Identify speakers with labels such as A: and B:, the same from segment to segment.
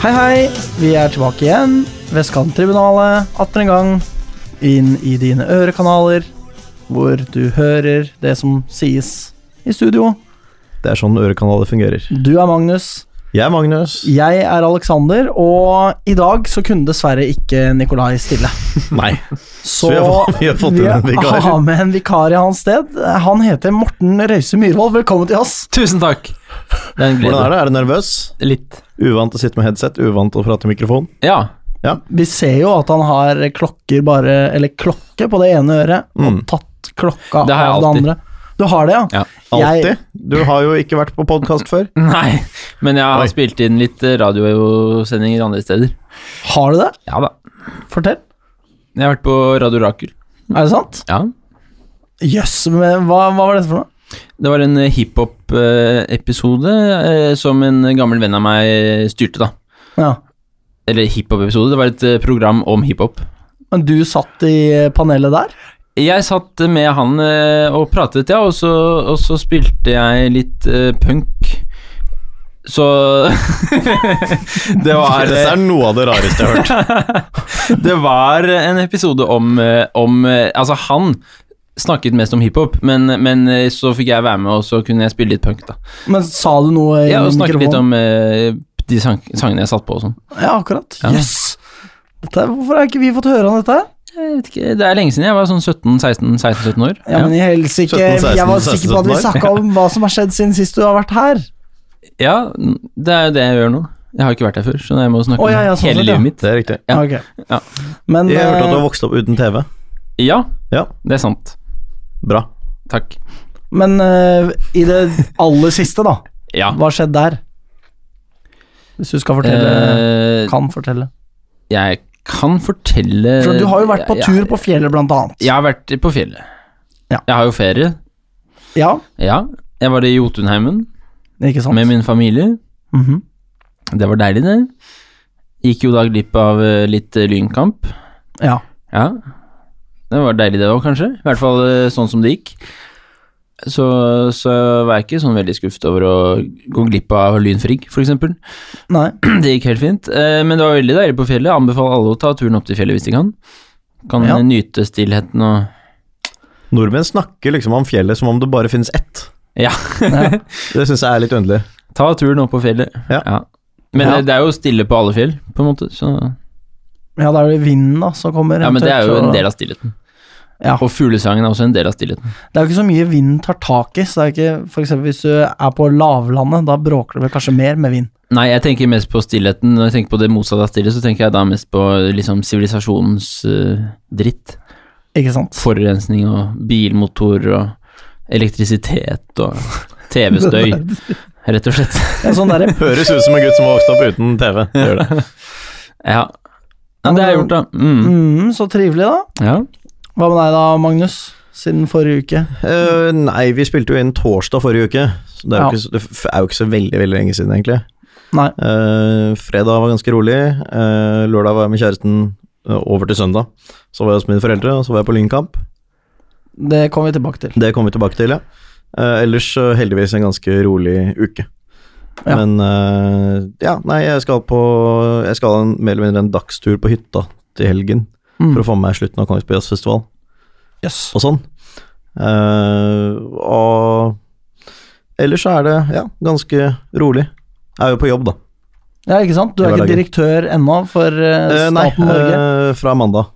A: Hei, hei. Vi er tilbake igjen. Vestkanttribunalet, atter en gang. Inn i dine ørekanaler, hvor du hører det som sies i studio.
B: Det er sånn ørekanaler fungerer.
A: Du er Magnus,
B: Jeg er Magnus.
A: jeg er Alexander, og i dag så kunne dessverre ikke Nikolai stille.
B: Nei. Så vi har, vi har fått inn en
A: vi
B: vikar.
A: har med en vikar i hans sted. Han heter Morten Røise Myhrvold. Velkommen til oss.
C: Tusen takk. Det er en
B: Hvordan er
C: glede.
B: det? Er du nervøs?
C: Litt.
B: Uvant å sitte med headset, uvant å prate i mikrofon?
C: Ja.
A: Vi ser jo at han har klokker bare Eller klokke på det ene øret, og
B: Mm.
A: tatt klokka
C: Det har jeg
A: av det
C: alltid.
A: andre. Du har det, ja?
C: Ja.
A: Jeg-
B: Alltid? Du har jo ikke vært på podkast før.
C: Nei, men jeg har
B: Oi.
C: spilt inn litt eh, radiosendinger andre steder.
A: Har du det?
C: Ja da.
A: Fortell.
C: Jeg har vært på Radio Rakel.
A: Er det sant?
C: Ja.
A: Jøss, men hva, hva var dette for noe?
C: Det var en eh, hiphop-episode eh, som en gammel venn av meg eh, styrte, da.
A: Ja.
C: Eller hiphop-episode. Det var et eh, program om hiphop.
A: Men du satt i panelet der?
C: Jeg satt med han eh, og pratet, ja, og så, og så spilte jeg litt eh, punk. Så Det var
B: Dette er noe av det rareste jeg har hørt.
C: Det var en episode om, eh, om eh, Altså, han snakket mest om hiphop, men, men eh, så fikk jeg være med, og så kunne jeg spille litt punk, da.
A: Men sa du noe i
C: Ja, og snakket litt
A: mikrofonen?
C: om eh, de sang sangene jeg satt på og sånn.
A: Ja, akkurat.
C: Ja.
A: Jøss. Dette- Hvorfor har ikke vi fått høre om dette? her?
C: Jeg vet ikke, Det er lenge siden. Jeg var sånn 17-16-17 år.
A: Ja, men i helsike.
B: 17-16,
A: Jeg var sikker på at vi
B: 16-17
A: snakka om hva som har skjedd siden sist du har vært her.
C: ja, det er jo det jeg gjør nå. Jeg har ikke vært her før, så jeg må snakke
A: Å, ja, ja,
C: om
A: sånn
C: hele
A: sett, ja.
C: livet mitt.
B: Det er riktig.
C: Ja.
A: Ok.
C: Ja.
A: Men
B: Jeg hørte at du
A: eh,
B: har vokst opp uten TV.
C: Ja,
B: Ja.
C: det er sant.
B: Bra.
C: Takk.
A: Men eh, i det aller siste, da.
C: Ja.
A: Hva skjedde der? Hvis du skal fortelle
C: Eh,
A: Kan fortelle.
C: jeg kan fortelle
A: For du har jo vært på
C: Jeg-
A: tur på fjellet, blant annet.
C: Jeg har vært på fjellet.
A: Ja.
C: Jeg har jo ferie.
A: Ja,
C: Ja. Jeg var i Jotunheimen
A: ikke sant?
C: med min familie.
A: Mhm.
C: Det var deilig, det. Gikk jo da glipp av eh, litt eh, lynkamp.
A: Ja.
C: Ja. Det var deilig, det òg, kanskje. I hvert fall eh, sånn som det gikk. Så, så var jeg ikke sånn veldig skuffet over å gå glipp av Lynfrigg, f.eks.
A: Nei.
C: Det gikk helt fint. Eh, Men det var veldig deilig på fjellet. Jeg Anbefaler alle å ta turen opp til fjellet hvis de kan. Kan
A: Ja.
C: eh, nyte stillheten og
B: Nordmenn snakker liksom om fjellet som om det bare finnes ett.
C: Ja.
B: Det syns jeg er litt underlig.
C: Ta turen opp på fjellet.
B: Ja.
C: Men
A: Ja.
C: eh, det er jo stille på alle fjell, på en måte. Så
A: Ja, det er jo vinden da som kommer.
C: Ja, men det er jo
A: eventuelt,
C: en
A: og-
C: del av stillheten.
A: Ja.
C: Og fuglesangen er også en del av stillheten.
A: Det er jo ikke så mye vinden tar tak i. Så det er ikke, for eksempel hvis du er på lavlandet, da bråker det vel kanskje mer med vind.
C: Nei, jeg tenker mest på stillheten. Når jeg tenker på det motsatte av stille, så tenker jeg da mest på liksom sivilisasjonens eh, dritt.
A: Ikke sant?
C: Forurensning og bilmotor og elektrisitet og TV-støy, rett og slett.
A: Ja, sånn derre
B: Høres ut som en gutt som har vokst opp uten TV. Det gjør det.
C: Ja. ja det har jeg gjort, da. Mm.
A: mm, Så trivelig, da.
C: Ja.
A: Hva med deg da, Magnus? Siden forrige uke.
B: Eh, nei, vi spilte jo inn torsdag forrige uke, så det er,
A: Ja.
B: jo ikke, så- det f- er jo ikke så veldig veldig lenge siden, egentlig.
A: Nei.
B: Eh, fredag var ganske rolig. eh, lørdag var jeg med kjæresten eh, over til søndag. Så var jeg hos mine foreldre, og så var jeg på Lynkamp.
A: Det kommer vi tilbake til.
B: Det kommer vi tilbake til, ja. Eh, ellers eh, heldigvis en ganske rolig uke.
A: Ja.
B: Men eh, ja, nei, jeg skal på Jeg skal en, mer eller mindre en dagstur på hytta til helgen
A: Mm.
B: for å få med meg slutten av Kongsberg Jazzfestival
A: Yes.
B: og sånn. Eh, og ellers så er det ja, ganske rolig. Jeg er jo på jobb, da.
A: Ja, ikke sant? Du er
B: I
A: ikke
B: hverdagen.
A: direktør ennå for eh,
B: Eh, nei,
A: staten Norge?
B: eh, fra mandag.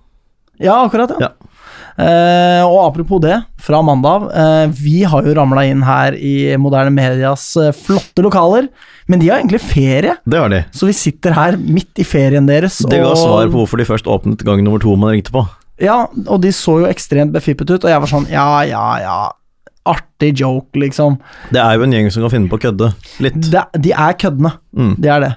A: Ja, akkurat, ja.
B: Ja.
A: Eh, og apropos det, fra mandag av. Eh, vi har jo ramla inn her i moderne medias eh, flotte lokaler, men de har egentlig ferie.
B: Det har de.
A: Så vi sitter her midt i ferien deres.
B: Det ga
A: og,
B: svar på hvorfor de først åpnet gang nummer to man ringte på.
A: Ja, og de så jo ekstremt befippet ut, og jeg var sånn ja, ja, ja. Artig joke, liksom.
B: Det er jo en gjeng som kan finne på å kødde litt.
A: De, de er køddene,
B: Mm.
A: de er det.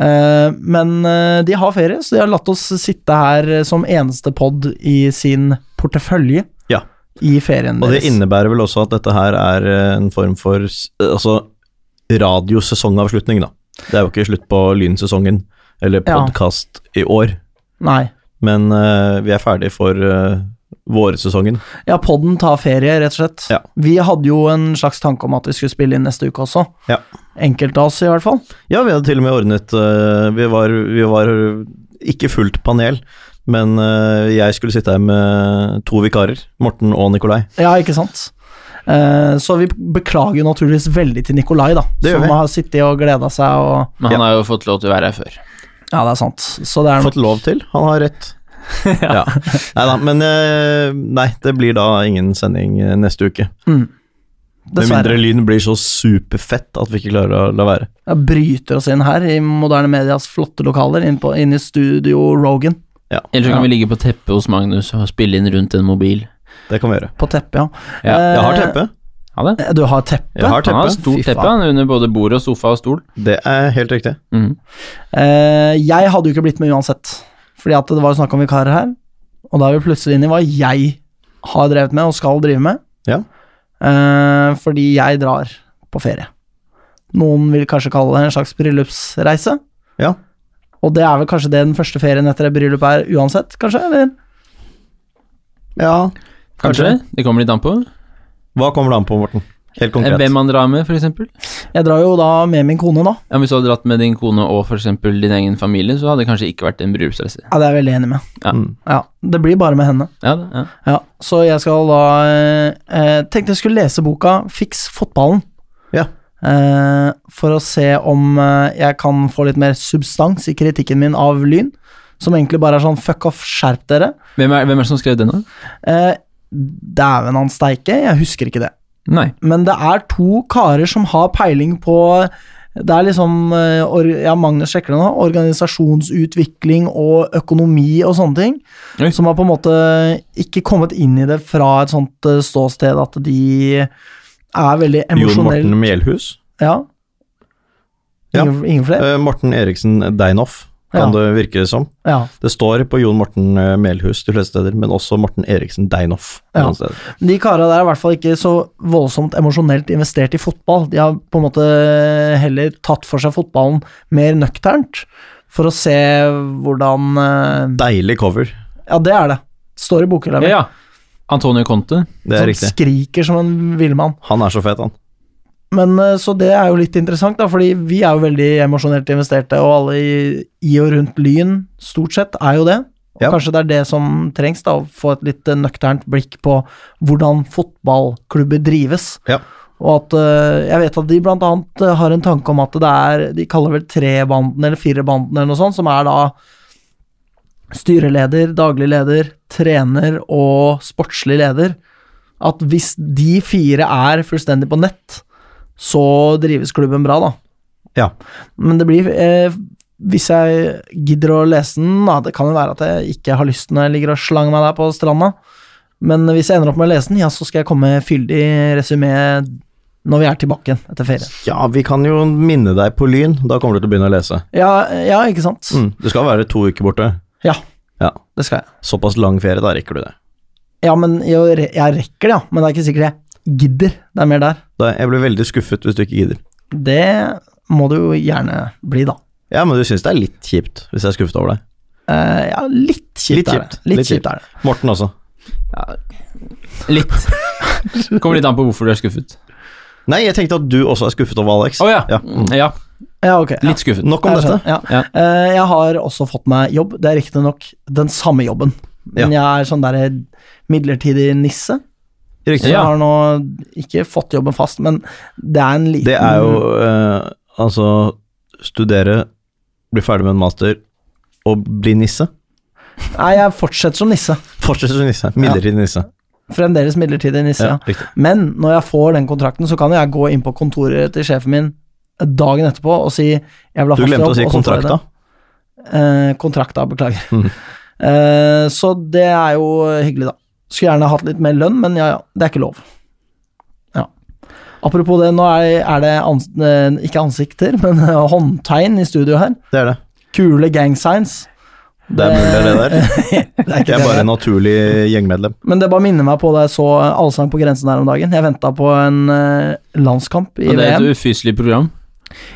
A: Eh, men eh, de har ferie, så de har latt oss sitte her eh, som eneste pod i sin portefølje
B: Ja.
A: i ferien
B: Og det
A: deres.
B: innebærer vel også at dette her er eh, en form for s- eh, altså radiosesongavslutning, da. Det er jo ikke slutt på lynsesongen eller
A: Ja.
B: podkast i år,
A: Nei.
B: men eh, vi er ferdig for eh, vårsesongen.
A: Ja, podden tar ferie, rett og slett.
B: Ja.
A: Vi hadde jo en slags tanke om at vi skulle spille inn neste uke også.
B: Ja.
A: Enkelte av oss, i hvert fall.
B: Ja, vi hadde til og med ordnet eh, vi, var, vi var ikke fullt panel, men eh, jeg skulle sitte her med to vikarer. Morten og Nikolai.
A: Ja, ikke sant? Eh, så vi beklager jo naturligvis veldig til Nikolai, da.
B: Det gjør
A: som
B: vi.
A: har sittet og gleda seg og
C: Men han har jo fått lov til å være her før.
A: Ja, det er sant. Så det er nok
B: Fått lov til, han har rett. ja. Nei da, men eh, Nei, det blir da ingen sending eh, neste uke.
A: mm,
B: Med mindre
A: Dessverre.
B: lyden blir så superfett at vi ikke klarer å la være.
A: Jeg bryter oss inn her, i moderne medias flotte lokaler, inn, på, inn i studio Rogan.
C: Ellers så kan
A: Ja.
C: vi ligge på teppet hos Magnus og spille inn rundt en mobil.
B: Det kan vi gjøre.
A: På teppet, ja.
C: Ja,
B: Jeg har
A: Eh,
B: teppe.
C: Ha det.
A: Du har teppe?
B: Jeg har
C: Han har
B: teppe.
C: stort
A: Fy
C: teppe han, under både bord og sofa og stol.
B: Det er helt riktig.
C: Mhm.
A: Eh, jeg hadde jo ikke blitt med uansett, fordi at det var jo snakk om vikarer her. Og da er vi plutselig inne i hva jeg har drevet med og skal drive med.
B: Ja.
A: Eh, fordi jeg drar på ferie. Noen vil kanskje kalle det en slags bryllupsreise.
B: Ja.
A: Og det er vel kanskje det den første ferien etter et bryllup er uansett, kanskje? Eller?
B: Ja.
C: Kanskje. Det kommer litt an på.
B: Hva kommer det an på, Morten? Helt
C: Eh,
B: konkret.
C: Hvem han drar med, f.eks.
A: Jeg drar jo da med min kone, da.
C: Ja, hvis du hadde dratt med din kone og for eksempel din egen familie, så hadde det kanskje ikke vært en bryllupsreise.
A: Ja, det er jeg veldig enig med.
C: Ja.
B: Mm.
A: Ja, Det blir bare med henne.
C: Ja, det- ja.
A: Ja, Så jeg skal da eh, Tenkte jeg skulle lese boka 'Fiks fotballen'.
B: Ja.
A: Eh, for å se om eh, jeg kan få litt mer substans i kritikken min av Lyn. Som egentlig bare er sånn fuck off, skjerp dere.
C: Hvem, er, hvem er det som skrev den, da?
A: Eh, Dæven han steike, jeg husker ikke det.
C: Nei.
A: Men det er to karer som har peiling på Det er liksom eh, or, Ja, Magnus sjekker det nå. Organisasjonsutvikling og økonomi og sånne ting.
C: Oi.
A: Som har på en måte ikke kommet inn i det fra et sånt eh, ståsted at de er veldig
B: Jon Morten
A: emosjonelle.
B: Melhus.
A: Ja.
B: Ja.
A: Ingen, ingen flere?
B: Eh, Morten Eriksen Deinhoff, kan
A: Ja.
B: det virke som.
A: Ja.
B: Det står på Jon Morten eh, Melhus de fleste steder, men også Morten Eriksen Deinhoff.
A: Ja.
B: noen steder.
A: De kara der er i hvert fall ikke så voldsomt emosjonelt investert i fotball. De har på en måte heller tatt for seg fotballen mer nøkternt, for å se hvordan eh,
B: Deilig cover.
A: Ja, det er det. Står i bokhylla
C: Ja,
A: mi.
C: ja. Antonio Conte.
B: Det er
A: Sånn
B: riktig.
A: skriker som en villmann.
B: Han er så fet, han.
A: Men eh, så det er jo litt interessant, da, fordi vi er jo veldig emosjonelt investerte, og alle i, i og rundt Lyn, stort sett, er jo det. Og
B: Ja.
A: kanskje det er det som trengs, da, å få et litt eh, nøkternt blikk på hvordan fotballklubber drives.
B: Ja.
A: Og at eh, jeg vet at de blant annet eh, har en tanke om at det er De kaller vel trebanden eller firebanden eller noe sånt, som er da styreleder, daglig leder, trener og sportslig leder. At hvis de fire er fullstendig på nett, så drives klubben bra, da.
B: Ja.
A: Men det blir eh, Hvis jeg gidder å lese den, da Det kan jo være at jeg ikke har lyst når jeg ligger og slanger meg der på stranda. Men hvis jeg ender opp med å lese den, ja, så skal jeg komme med fyldig resymé når vi er tilbake igjen etter ferien.
B: ja, vi kan jo minne deg på Lyn. Da kommer du til å begynne å lese.
A: Ja, ja ikke sant?
B: Mm. Du skal være to uker borte.
A: Ja.
B: Ja.
A: Det skal jeg.
B: Såpass lang ferie, da rekker du det.
A: Ja, men jeg, jeg rekker det, ja. Men det er ikke sikkert jeg gidder. Det er mer der.
B: Da, jeg blir veldig skuffet hvis du ikke gidder.
A: Det må du jo gjerne bli, da.
B: Ja, men du syns det er litt kjipt hvis jeg er skuffet over deg.
A: Eh, ja, litt kjipt,
B: Litt
A: er
B: kjipt.
A: det. Litt,
B: Litt
A: kjipt
B: kjipt.
A: er det.
B: Morten også.
C: Litt. Kommer litt an på hvorfor du er skuffet.
B: Nei, jeg tenkte at du også er skuffet over Alex.
C: Å ja.
B: Ja.
C: Ja.
B: Mm.
A: Ja, ok. Ja.
C: Litt skuffet.
B: Nok om
A: Jeg
B: dette.
A: skjønner, Ja.
C: Ja.
A: Eh, jeg har også fått meg jobb. Det er riktignok den samme jobben, men jeg er sånn der midlertidig nisse. Så
B: Riktig.
A: jeg
C: Ja.
A: har nå ikke fått jobben fast, men det er en liten
B: Det er jo eh, altså studere, bli ferdig med en master og bli nisse.
A: Nei, jeg fortsetter som nisse.
B: Fortsett som nisse. Midlertidig nisse.
A: Fremdeles midlertidig nisse.
B: Ja,
A: Ja.
B: riktig.
A: Men når jeg får den kontrakten, så kan jeg gå inn på kontoret til sjefen min dagen etterpå og si jeg vil ha
B: Du
A: fast jobb.
B: glemte å si
A: og så får jeg
B: kontrakt,
A: det.
B: da.
A: Eh, kontrakta, beklager.
B: Mhm.
A: Eh, så det er jo hyggelig, da. Skulle gjerne hatt litt mer lønn, men ja, ja, det er ikke lov. Ja. Apropos det, nå er, er det ans eh, ikke ansikter, men eh, håndtegn i studio her.
B: Det er det.
A: Kule gang signs.
B: Det er mulig, det der.
A: Det er ikke
B: Jeg er
A: det.
B: bare en naturlig gjengmedlem.
A: Men det bare minner meg på da jeg så Allsang på grensen her om dagen. Jeg venta på en eh, landskamp i
C: Ja, det er
A: VM.
C: et ufyselig program.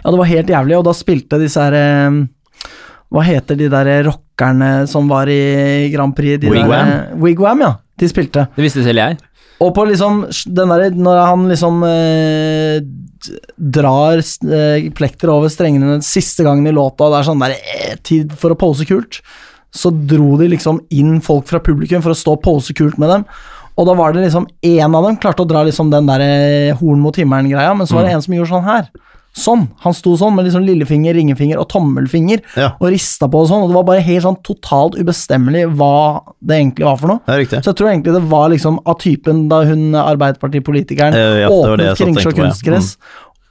A: Ja, det var helt jævlig, og da spilte disse her eh, Hva heter de der rockerne som var i Grand Prix? De
B: Wigwam?
A: Der, eh, Wigwam, ja. de spilte.
C: Det visste selv jeg.
A: Og på liksom den derre Når han liksom eh, d- drar eh, plekter over strengene den siste gangen i låta, og det er sånn der eh, tid for å pose kult, så dro de liksom inn folk fra publikum for å stå og pose kult med dem. Og da var det liksom én av dem klarte å dra liksom den der eh, horn mot himmelen-greia, men så var det en som gjorde sånn her. Sånn. Han sto sånn med liksom lillefinger, ringefinger og tommelfinger
B: Ja.
A: og rista på og sånn, og det var bare helt sånn totalt ubestemmelig hva det egentlig var for noe.
B: Det er riktig.
A: Så jeg tror egentlig det var liksom av typen da hun Arbeiderpartipolitikeren
B: Eh, ja, det var det jeg
A: åpnet
B: satt og
A: Kringsjå
B: tenkte på, ja. Mm.
A: kunstgress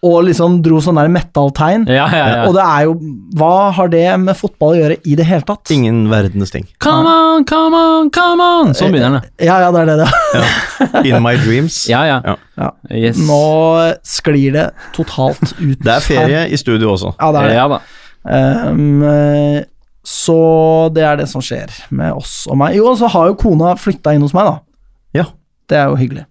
A: og liksom dro sånn der metalltegn.
C: Ja, ja, ja.
A: Og det er jo Hva har det med fotball å gjøre i det hele tatt?
B: Ingen verdens ting.
C: Come on, come on, come on! Sånn begynner den.
A: Ja, ja, det er det det er.
B: In my dreams.
C: Ja, ja.
B: Ja.
A: Ja.
C: Yes.
A: Nå sklir det totalt ut.
B: Det er ferie i studio også.
A: Ja, det er det.
C: Ja da.
A: Um, eh, så det er det som skjer med oss og meg. Jo, og så har jo kona flytta inn hos meg, da.
B: Ja.
A: Det er jo hyggelig.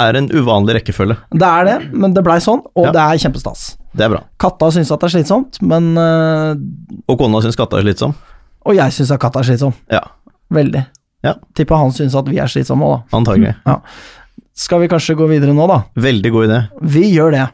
B: Er en uvanlig rekkefølge.
A: Det er det, men det blei sånn, og
B: Ja.
A: det er kjempestas.
B: Det er bra.
A: Katta syns at det er slitsomt, men eh,
B: Og kona syns katta er slitsom.
A: Og jeg syns at katta er slitsom.
B: Ja,
A: Veldig.
B: Ja.
A: Tipper han syns at vi er slitsomme òg, da.
B: antagelig.
A: Skal vi kanskje gå videre nå, da?
B: Veldig god idé.
A: Vi gjør det.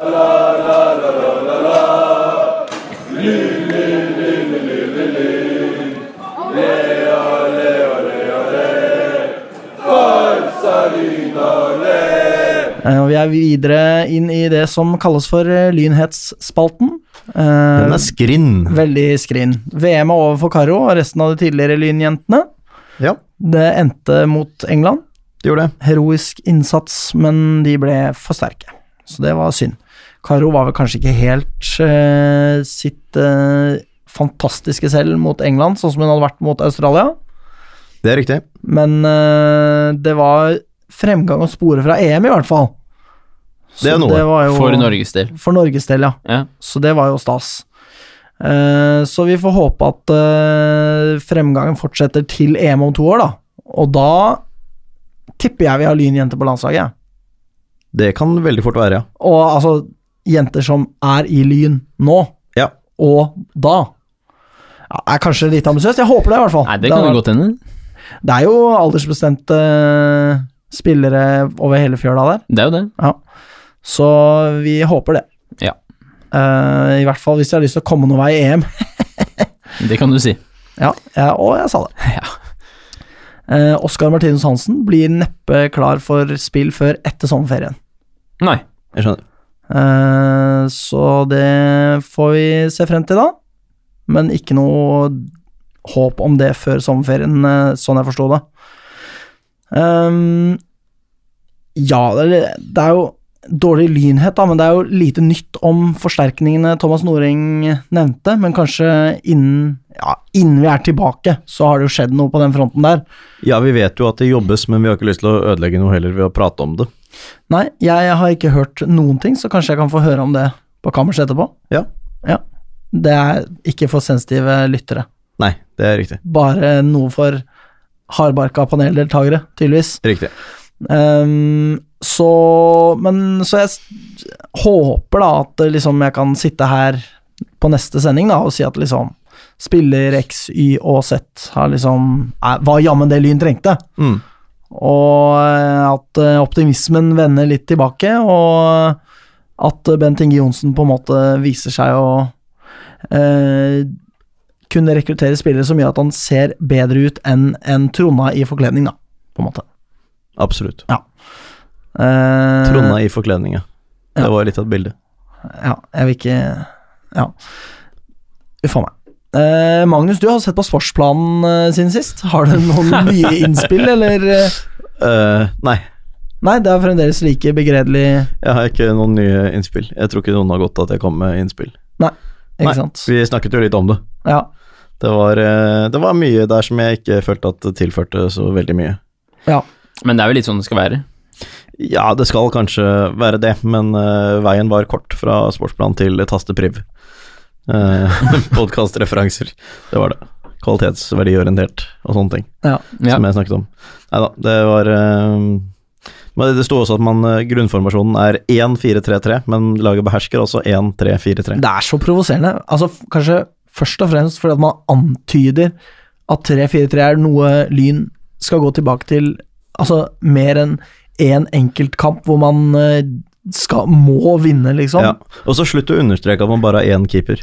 A: Eh, Og vi er videre inn i det som kalles for eh, lynhetsspalten. Eh,
B: Den er skrinn.
A: Veldig skrin. VM er over for Karo og resten av de tidligere Lynjentene.
B: Ja,
A: Det endte mot England.
B: det gjorde det.
A: Heroisk innsats, men de ble for sterke. Så det var synd. Karo var vel kanskje ikke helt eh, sitt eh, fantastiske selv mot England, sånn som hun hadde vært mot Australia.
B: Det er riktig.
A: Men eh, det var fremgang å spore fra EM, i hvert fall.
B: Det er noe.
A: var jo-
C: For Norges del.
A: For Norges del, ja.
C: Ja.
A: Så det var jo stas. Eh, så vi får håpe at eh, fremgangen fortsetter til EM om to år, da. Og da tipper jeg vi har lynjenter på landslaget.
B: Det kan veldig fort være, ja.
A: Og altså jenter som er i Lyn nå,
B: Ja.
A: og da. Ja, er kanskje litt ambisiøst, jeg håper det i hvert fall.
C: Nei, det kan
A: er,
C: jo godt hende.
A: det er jo aldersbestemte eh, spillere over hele fjøla der.
C: Det er jo det.
A: Ja. Så vi håper det.
C: Ja.
A: Eh, I hvert fall hvis de har lyst til å komme noen vei i EM.
C: Det kan du si.
A: Ja, jeg, og jeg sa det.
C: Ja.
A: Eh, Oskar Martinus Hansen blir neppe klar for spill før etter sommerferien.
C: Nei.
B: Jeg skjønner.
A: Eh, så det får vi se frem til da. Men ikke noe håp om det før sommerferien, eh, sånn jeg forsto det. Ehm, ja, det er- det er jo dårlig lynhet, da, men det er jo lite nytt om forsterkningene Thomas Noring nevnte. Men kanskje innen, ja, innen vi er tilbake, så har det jo skjedd noe på den fronten der.
B: Ja, vi vet jo at det jobbes, men vi har ikke lyst til å ødelegge noe heller ved å prate om det.
A: Nei, jeg har ikke hørt noen ting, så kanskje jeg kan få høre om det på kammerset etterpå.
B: Ja.
A: Ja. Det er ikke for sensitive lyttere.
B: Nei, det er riktig.
A: Bare noe for hardbarka paneldeltakere, tydeligvis.
B: Riktig.
A: Ehm, så Men så jeg s- håper da at eh, liksom jeg kan sitte her på neste sending da og si at liksom Spiller X, Y og Z har liksom er, var jammen det Lyn trengte.
B: Mm.
A: Og eh, at eh, optimismen vender litt tilbake, og at eh, Bent Inge Johnsen på en måte viser seg å eh, kunne rekruttere spillere som gjør at han ser bedre ut enn en Tronna i forkledning, da, på en måte.
B: Absolutt.
A: Eh,
B: Tronna i forkledninga. Det var litt av et bilde.
A: Ja, jeg vil ikke Ja. Uff a meg. Eh, Magnus, du har sett på sportsplanen eh, siden sist. Har du noen nye innspill, eller eh?
B: Eh, nei,
A: Nei, det er fremdeles like begredelig,
B: jeg har ikke noen nye innspill. Jeg tror ikke noen har godt av at jeg kom med innspill.
A: ikke
B: Nei,
A: sant?
B: Vi snakket jo litt om det.
A: Ja.
B: Det var, eh, det var mye der som jeg ikke følte at det tilførte så veldig mye.
A: ja.
C: Men det er jo litt sånn det skal være.
B: Ja, det skal kanskje være det, men eh, veien var kort fra sportsplan til tastepriv. Uh, Podkastreferanser, det var det. Kvalitetsverdiorientert og sånne ting.
A: Ja.
C: Ja.
B: som jeg snakket om. Nei da, det var eh, Men det sto også at man, eh, grunnformasjonen er 1-4-3-3, men laget behersker altså 1-3-4-3.
A: Det er så provoserende. Altså, f- kanskje først og fremst fordi at man antyder at 3-4-3 er noe Lyn skal gå tilbake til altså, mer enn én enkeltkamp hvor man eh, skal, må vinne, liksom.
B: Ja.
A: Ja.
B: Og så slutt å understreke at man bare har én keeper.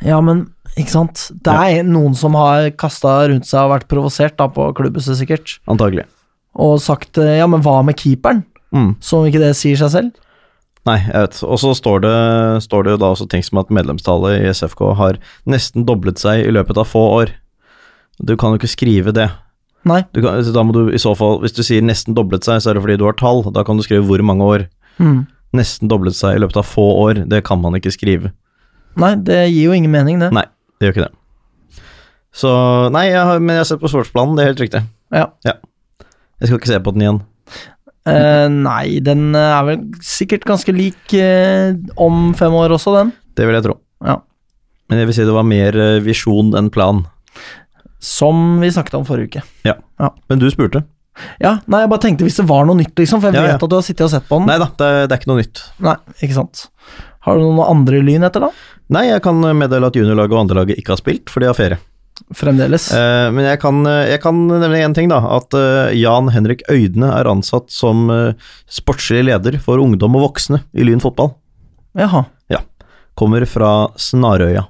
A: men ikke sant. Det er noen som har kasta rundt seg og vært provosert da, på klubbhuset, sikkert.
B: Antagelig.
A: Og sagt eh, ja, men hva med keeperen?
B: Mm.
A: Som om ikke det sier seg selv.
B: Nei, jeg vet. Og så står det, står det jo da også ting som at medlemstallet i SFK har nesten doblet seg i løpet av få år. Du kan jo ikke skrive det.
A: Nei.
B: Du kan, da må du i så fall, Hvis du sier nesten doblet seg, så er det fordi du har tall. Da kan du skrive hvor mange år.
A: Mm.
B: Nesten doblet seg i løpet av få år. Det kan man ikke skrive.
A: Nei, det gir jo ingen mening, det.
B: Nei, det gjør ikke det. Så Nei, jeg har, men jeg har sett på sportsplanen, det er helt riktig.
A: Ja.
B: Jeg skal ikke se på den igjen.
A: Eh, nei, den eh, er vel sikkert ganske lik eh, om fem år også, den.
B: Det vil jeg tro.
A: Ja.
B: Men jeg vil si det var mer eh, visjon enn plan.
A: Som vi snakket om forrige uke.
B: Men du spurte.
A: Ja, nei, jeg bare tenkte hvis det var noe nytt, liksom, for jeg
B: Ja, ja.
A: vet at du har sittet og sett på den.
B: Nei da, det, det er ikke noe nytt.
A: Nei, ikke sant. Har du noen andre lyn etter, da?
B: Nei, jeg kan meddele at juniorlaget og andrelaget ikke har spilt, for de har ferie.
A: Fremdeles.
B: Eh, men jeg kan, jeg kan nevne én ting, da. At eh, Jan Henrik Øydene er ansatt som eh, sportslig leder for ungdom og voksne i Lyn fotball.
A: Jaha.
B: Kommer fra Snarøya.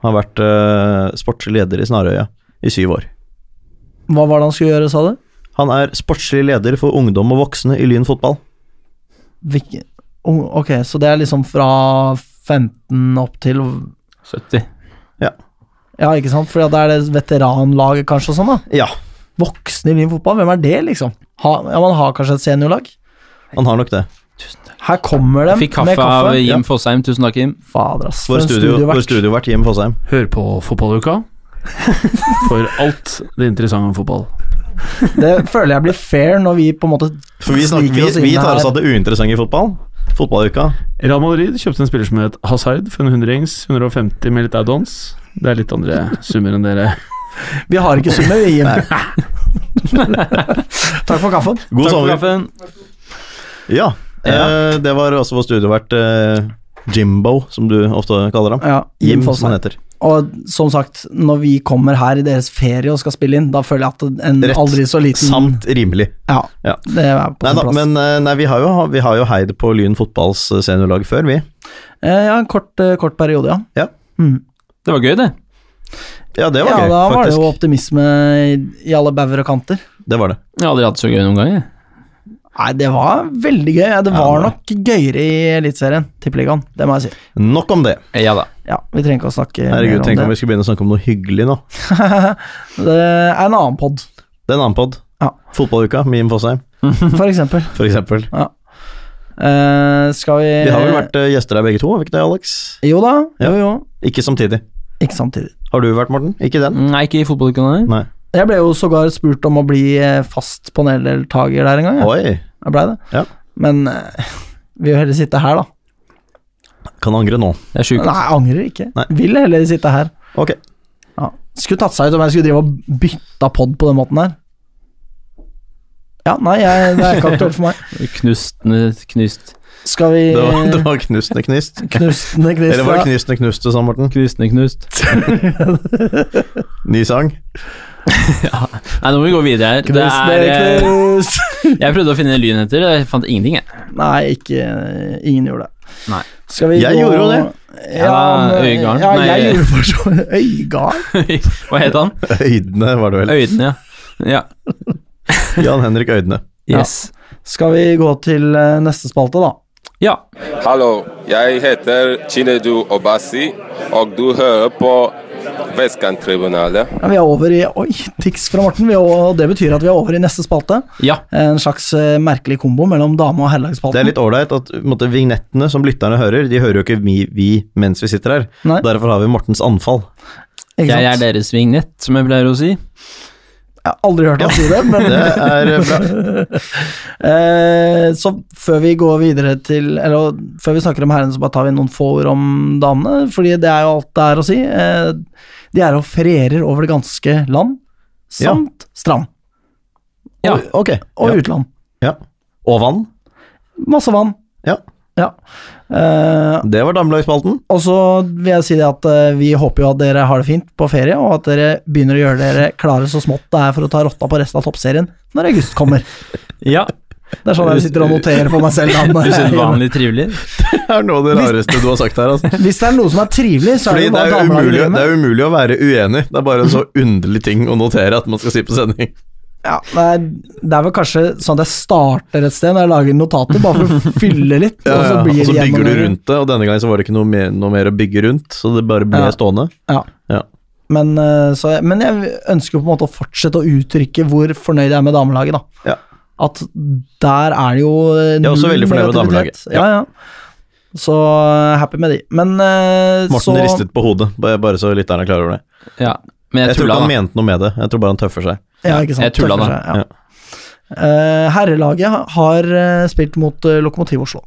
B: Har vært eh, sportslig leder i Snarøya i syv år.
A: Hva var det han skulle gjøre, sa du?
B: Han er sportslig leder for ungdom og voksne i Lyn fotball.
A: Hvilke Ung- Ok, så det er liksom fra 15 opp til
C: 70.
A: Ja, ikke sant? For da er det veteranlaget kanskje og sånn, da.
B: Ja,
A: Voksne i min fotball, hvem er det, liksom? Ha, ja, Man har kanskje et seniorlag?
B: han har nok det.
A: Her kommer de
C: Fikk kaffe,
A: med kaffe.
C: av Jim Fosheim, tusen takk, Jim.
A: Fader, ass. For
B: Vår
A: en
B: studio,
A: studiovert.
B: vår studiovert Jim Fosheim.
D: Hør på fotballuka. For alt det interessante om fotball.
A: Det føler jeg blir fair når vi på en måte
B: For vi, snakker,
A: Sniker oss
B: vi, vi
A: inn
B: tar oss
A: her.
B: av det uinteressante i fotball. Fotballuka.
D: Real Madrid kjøpte en spiller som het Hazard for en hundrings. 150 med litt add-ons. Det er litt andre summer enn dere.
A: Vi har ikke summer, vi, Jim. Takk for kaffen.
B: God
C: Takk for
B: sommer.
C: kaffen.
B: Ja, Eh, det var også vår studiovert eh, Jimbo, som du ofte kaller ham.
A: Ja, Jim
B: Jim, som han
A: Fosheim.
B: heter.
A: Og som sagt, når vi kommer her i deres ferie og skal spille inn, da føler jeg at en
B: Rett.
A: aldri så liten
B: Samt rimelig.
A: Ja,
B: Ja.
A: det er på
B: Nei
A: sin
B: da,
A: plass.
B: men eh, nei, vi, har jo, vi har jo heid på Lyn fotballs eh, seniorlag før, vi.
A: Eh, Ja, en kort, eh, kort periode, ja.
B: Ja.
A: Mm.
C: Det var gøy, det.
B: Ja, det var
A: ja,
B: gøy,
A: da var det
B: faktisk.
A: jo optimisme i, i alle bauger og kanter.
B: Det var det.
C: Jeg har aldri hatt det så gøy noen gang. Jeg.
A: Nei, det var veldig gøy. Ja, Det
B: Ja,
A: var
B: det var-
A: nok gøyere i Eliteserien, Tippeligaen. Det må jeg si.
B: Nok om det.
C: Eh, Ja da.
A: Ja, vi trenger ikke å snakke
B: Herregud, tenk
A: mer om
B: om
A: det.
B: vi skulle begynne å snakke om noe hyggelig nå.
A: det er en annen pod,
B: Det er en annen pod.
A: Ja.
B: Fotballuka med Jim Fosheim,
A: for eksempel.
B: for eksempel.
A: Eh, skal vi
B: Vi har vel vært eh, gjester der begge to, har vi ikke det, Alex?
A: Jo da,
B: Ja.
A: jo jo.
B: Ikke samtidig.
A: Ikke samtidig.
B: Har du vært, Morten? Ikke den?
C: Nei, ikke i fotballuken. nei.
B: Nei.
A: Jeg ble jo sågar spurt om å bli eh, fast paneldeltaker der en gang. Jeg,
B: Oi.
A: jeg blei det.
B: Ja.
A: Men eh, vil jo heller sitte her, da.
B: Kan angre nå.
C: Det er sjukt.
A: Nei, jeg angrer ikke.
B: Nei.
A: Vil heller sitte her.
B: Ok.
A: Ja. Skulle tatt seg ut om jeg skulle drive og bytta pod på den måten her. Ja, nei, jeg, det er ikke aktuelt for meg.
C: Knust, knust.
A: Skal vi
B: Det var, det var knustende knist.
A: Knustende
B: Eller var det
A: knist.
B: knustende knuste, sa Morten?
C: Knusende knust.
B: Ny sang.
C: Nei, nå må vi gå videre her. Det er,
A: Knustende
C: eh,
A: knust.
C: jeg prøvde å finne lyn etter, og jeg fant ingenting, jeg.
A: Nei, ikke Ingen gjorde det.
C: Nei.
A: Skal vi
B: Jeg
A: gå
B: gjorde jo det.
A: Ja,
C: Ja,
A: men-
C: Øygarden.
A: Ja,
C: Nei,
A: jeg
C: eh.
A: gjorde for så vidt Øygarden?
C: Hva het han?
B: Øydene, var det vel.
C: Øydene, ja. ja.
B: Jan Henrik Øydene.
C: Yes.
A: Skal vi gå til eh, neste spalte, da?
C: Ja.
E: Hallo, jeg heter Chinedu Obasi, og du hører på Vestkanttribunalet.
A: Ja, vi er over i Oi, tics fra Morten. Vi er, over- og det betyr at vi er over i neste spalte.
C: Ja.
A: En slags eh, merkelig kombo mellom dame- og
B: Det er
A: herrelagsspalten.
B: litt ålreit at på en måte, vignettene som lytterne hører, de hører jo ikke vi, vi mens vi sitter her.
A: Nei.
B: Derfor har vi Mortens anfall.
A: Ikke
C: Jeg er
A: sant?
C: deres vignett, som jeg pleier å si.
A: Jeg har aldri hørt ham si det, men
B: Det er bra.
A: eh, Så før vi går videre til Eller før vi snakker om herrene, så bare tar vi noen få ord om damene. Fordi det er jo alt det er å si. Eh, de er og ferierer over det ganske land,
B: Ja.
A: samt strand
C: Ja.
B: Ok.
A: og
B: Ja.
A: utland.
B: ja. Og vann.
A: Masse vann.
B: Ja.
A: Ja. Eh,
B: Det var damelagsspalten.
A: og så vil jeg si det at eh, vi håper jo at dere har det fint på ferie, og at dere begynner å gjøre dere klare så smått det er for å ta rotta på resten av toppserien når august kommer.
C: Ja,
A: Det er sånn jeg sitter og noterer for meg selv. da, når jeg er hjemme.
C: usedvanlig trivelig.
B: Det er noe av det rareste du har sagt her. Altså.
A: Hvis det er noe som er trivelig, så er
B: Fordi
A: det
B: det
A: noe
B: er, jo
A: damelaget
B: umulig,
A: driver
B: det
A: med.
B: er jo umulig å være uenig. Det er bare en så underlig ting å notere at man skal si på sending.
A: Ja, det er, det er vel kanskje sånn at jeg starter et sted når jeg lager notater, bare for å fylle litt.
B: Ja, ja. Og
A: blir
B: så
A: det
B: bygger du
A: gjennom-
B: rundt det, og denne gangen så var det ikke noe mer, noe mer å bygge rundt, så det bare ble
A: Ja.
B: stående.
A: Ja.
B: Ja.
A: Men, eh, så, jeg- men jeg ønsker jo på en måte å fortsette å uttrykke hvor fornøyd jeg er med damelaget. da.
B: Ja.
A: At der er det jo eh,
B: Jeg er også
A: null
B: veldig fornøyd med
A: negativitet.
B: damelaget.
A: Ja, ja. Så eh, happy med de. Men eh, så
B: Morten ristet på hodet, bare bare så lytterne er klar over det.
C: Ja, men
B: Jeg, tror
C: jeg
B: ikke
C: tulla,
B: han
C: da.
B: mente noe med det, jeg tror bare han tøffer seg.
A: Ja, ikke sant.
C: Jeg tulla,
A: Tøffer
C: da.
A: seg, ja. Eh, herrelaget har eh, spilt mot eh, Lokomotiv Oslo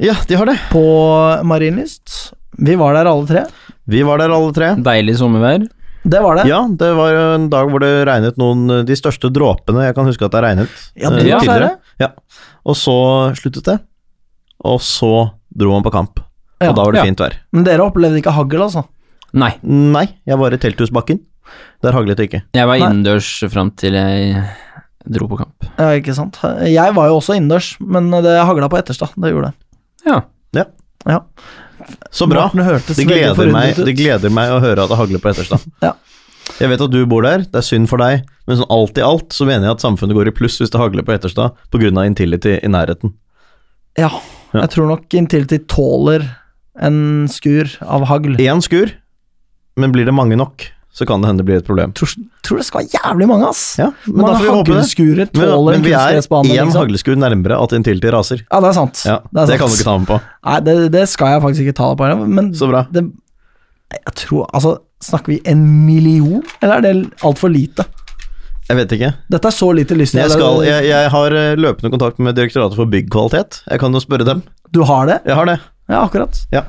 B: Ja, de har det.
A: på Marienlyst. Vi var der alle tre.
B: Vi var der alle tre.
C: Deilig sommervær.
A: Det var det.
B: Ja, det var jo en dag hvor det regnet noen De største dråpene jeg kan huske at det regnet.
A: Ja,
B: eh,
A: det
C: var
B: tidligere. Ja. Og så sluttet det. Og så dro man på kamp.
A: Ja,
B: og da var det
C: ja.
B: fint vær.
A: Men dere opplevde ikke hagl, altså?
C: Nei,
B: Nei, jeg var i telthusbakken. Der haglet det ikke.
C: jeg var
A: Nei.
C: innendørs fram til jeg dro på kamp.
A: Ja, ikke sant. Jeg var jo også innendørs, men det hagla på Etterstad. Det gjorde det.
C: Ja.
A: Ja.
B: Så bra.
A: Morten hørtes
B: Det
A: veldig
B: gleder, meg,
A: forundret ut.
B: det gleder meg å høre at det hagler på Etterstad.
A: Ja.
B: Jeg vet at du bor der, det er synd for deg, men sånn alt i alt så mener jeg at samfunnet går i pluss hvis det hagler på Etterstad pga. Intility i nærheten.
A: Ja,
B: Ja.
A: jeg tror nok Intility tåler en skur av hagl. Jeg
B: Én skur, men blir det mange nok, så kan det hende det blir et problem.
A: tror, tror det skal være jævlig mange, ass!
B: Ja, men da
A: Mange
B: får vi håpe det.
A: haglskurer
B: Men,
A: tåler
B: men
A: en
B: vi er
A: kunstgressbane.
B: én
A: liksom.
B: hagleskur nærmere at Intility raser.
A: Ja, det er sant.
B: Ja,
A: det, er
B: det kan du ikke ta med på.
A: Nei, det, det skal jeg faktisk ikke ta deg på, men
B: Så bra.
A: det, jeg tror Altså, snakker vi en million, eller er det altfor lite?
B: Jeg vet ikke.
A: Dette er så lite lyst
B: Jeg, skal, jeg, jeg har eh, løpende kontakt med Direktoratet for byggkvalitet. Jeg kan jo spørre dem.
A: Du har det?
B: Jeg har det.
A: Ja, akkurat.
B: Ja.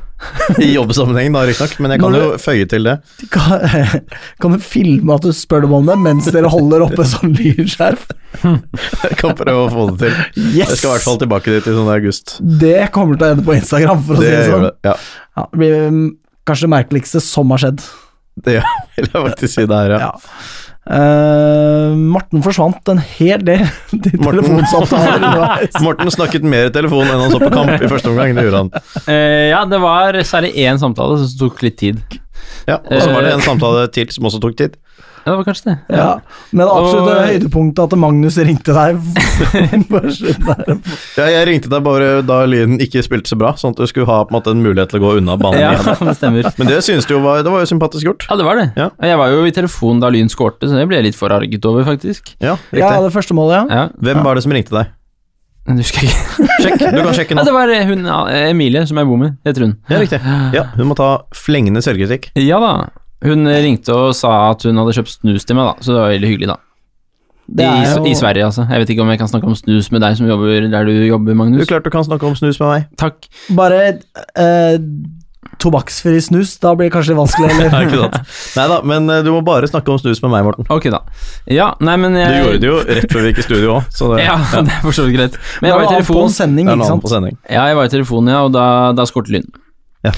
B: I jobbsammenheng, da, riktignok, men jeg kan
A: Når
B: jo føye til det.
A: Kan, kan du filme at du spør dem om det mens dere holder oppe sånn lydskjerf?
B: Jeg kan prøve å få det til.
A: Yes!
B: Jeg skal i hvert fall tilbake dit i sånn august.
A: Det kommer til å ende på Instagram, for å si det
B: gjør
A: sånn.
B: det. Ja,
A: Ja, det blir mm, kanskje det merkeligste som har skjedd.
B: det gjør- vil jeg faktisk si det her, ja.
A: Ja. Eh, Morten forsvant en hel del til
B: Morten-
A: telefonsamtaler underveis.
B: Morten snakket mer i telefon enn han så på kamp i første omgang. Det gjorde han.
C: Eh, ja, det var særlig én samtale som tok litt tid.
B: Ja, og så var det en samtale til som også tok tid.
C: Ja, det var kanskje det.
A: Ja. Men det absolutte
C: Og-
A: høydepunktet at Magnus ringte deg Bare slutt der.
B: Ja, jeg ringte deg bare da lyden ikke spilte så bra, sånn at du skulle ha på en måte en mulighet til å gå unna banen
C: Ja,
B: igjen.
C: det stemmer.
B: Men det synes du jo var, det var jo sympatisk gjort.
C: Ja, det var det.
B: Ja.
C: Og Jeg var jo i telefonen da Lyn skårte, så det ble jeg litt forarget over, faktisk.
A: Ja,
B: Ja, riktig.
A: det første målet, ja.
C: Ja,
B: Hvem var det som ringte deg?
C: jeg husker ikke.
B: Sjekk, du kan sjekke nå.
C: Ja, det var hun eh, Emilie som jeg bor med, heter hun.
B: Ja, riktig.
A: Altså-
B: Ja, hun må ta flengende selvkritikk.
C: Ja da. Hun ringte og sa at hun hadde kjøpt snus til meg, da, så det var veldig hyggelig, da.
A: Det
C: I,
A: er jo-
C: I Sverige, altså. Jeg vet ikke om jeg kan snakke om snus med deg som jobber der du jobber,
B: Du
C: Magnus.
B: klart du kan snakke om snus med meg.
C: Takk.
A: Bare eh, tobakksfri snus, da blir det kanskje litt vanskelig,
B: Nei,
A: eller?
B: ikke sant. Neida, men eh, du må bare snakke om snus med meg, Morten.
C: Ok, da. Ja, nei, men eh,
B: Du
C: jeg
B: gjorde det jo rett før vi gikk i studio òg, så det
C: Ja, det er for så vidt greit. Men
A: Det
C: jeg var i
A: var på
C: telefonen,
B: det
A: sending,
B: er en
A: ikke
B: annen
A: sant?
B: på sending.
C: ja, jeg var i telefonen, ja, og da, da skårte Lyn.
A: Ja,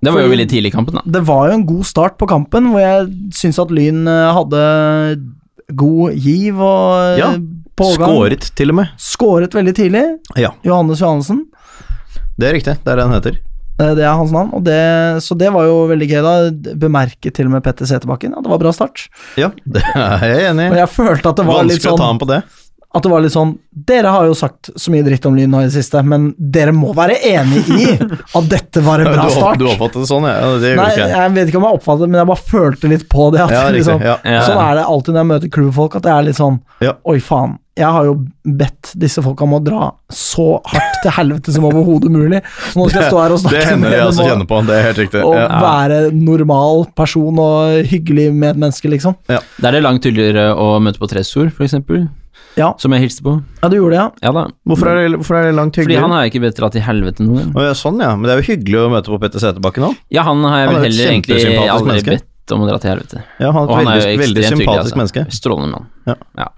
C: Det var
A: fordi
C: jo veldig tidlig i kampen, da.
A: Det var jo en god start på kampen, hvor jeg syns at Lyn eh, hadde god giv og
B: Ja,
A: eh, pågang.
B: Skåret, til og med.
A: Skåret veldig tidlig.
B: Ja.
A: Johannes Johannessen,
B: Det er riktig. Det er det den heter.
A: eh, det er hans navn. Og det, så det var jo veldig gøy, da. Bemerket til og med Petter Seterbakken. Ja, det var bra start.
B: Ja, det er jeg enig
A: Og
B: i.
A: jeg følte at det var litt
B: Vanskelig å ta
A: sånn,
B: ham på det.
A: at det var litt sånn Dere har jo sagt så mye dritt om Lyn nå i det siste, men dere må være enig i at dette var
B: Du,
A: en bra
B: opp-
A: start.
B: du oppfattet det sånn, ja. ja. Det
A: Nei,
B: gjorde ikke jeg.
A: jeg vet ikke om jeg oppfattet det, men jeg bare følte litt på det. At,
B: Ja, riktig.
A: liksom,
B: Ja.
C: Ja.
A: Sånn er det alltid når jeg møter klubbfolk, at det er litt sånn
B: Ja.
A: Oi, faen. Jeg har jo bedt disse folka om å dra så hardt til helvete som overhodet mulig. Så nå skal jeg stå her og snakke
B: Det hender jeg
A: med
B: også
A: dem
B: kjenner på. Det er helt riktig.
A: og, og
B: Ja.
A: være normal person og hyggelig medmenneske, liksom.
C: Der er det langt tydeligere å møte på Tressor, f.eks.,
A: Ja.
C: som jeg hilste på.
A: Ja, du gjorde det, ja.
C: Ja da.
B: Hvorfor er, det, hvorfor er det langt
C: Fordi
B: hyggelig?
C: han har jeg ikke bedt dra til helvete noen gang.
B: Å, ja, sånn, ja. Men det er jo hyggelig å møte på Petter Seterbakken òg.
C: Ja, han har jeg
B: Han er
C: vel
B: et
C: heller egentlig
B: kjempesympatisk
C: aldri
B: menneske.
C: bedt om å dra til helvete.
B: Ja, han er
C: Og
B: et
C: han er
B: veldig,
C: jo
B: veldig
C: ekstremt hyggelig,
B: sympatisk
C: altså.
B: menneske.
C: Strålende mann.
B: Ja.
C: Ja.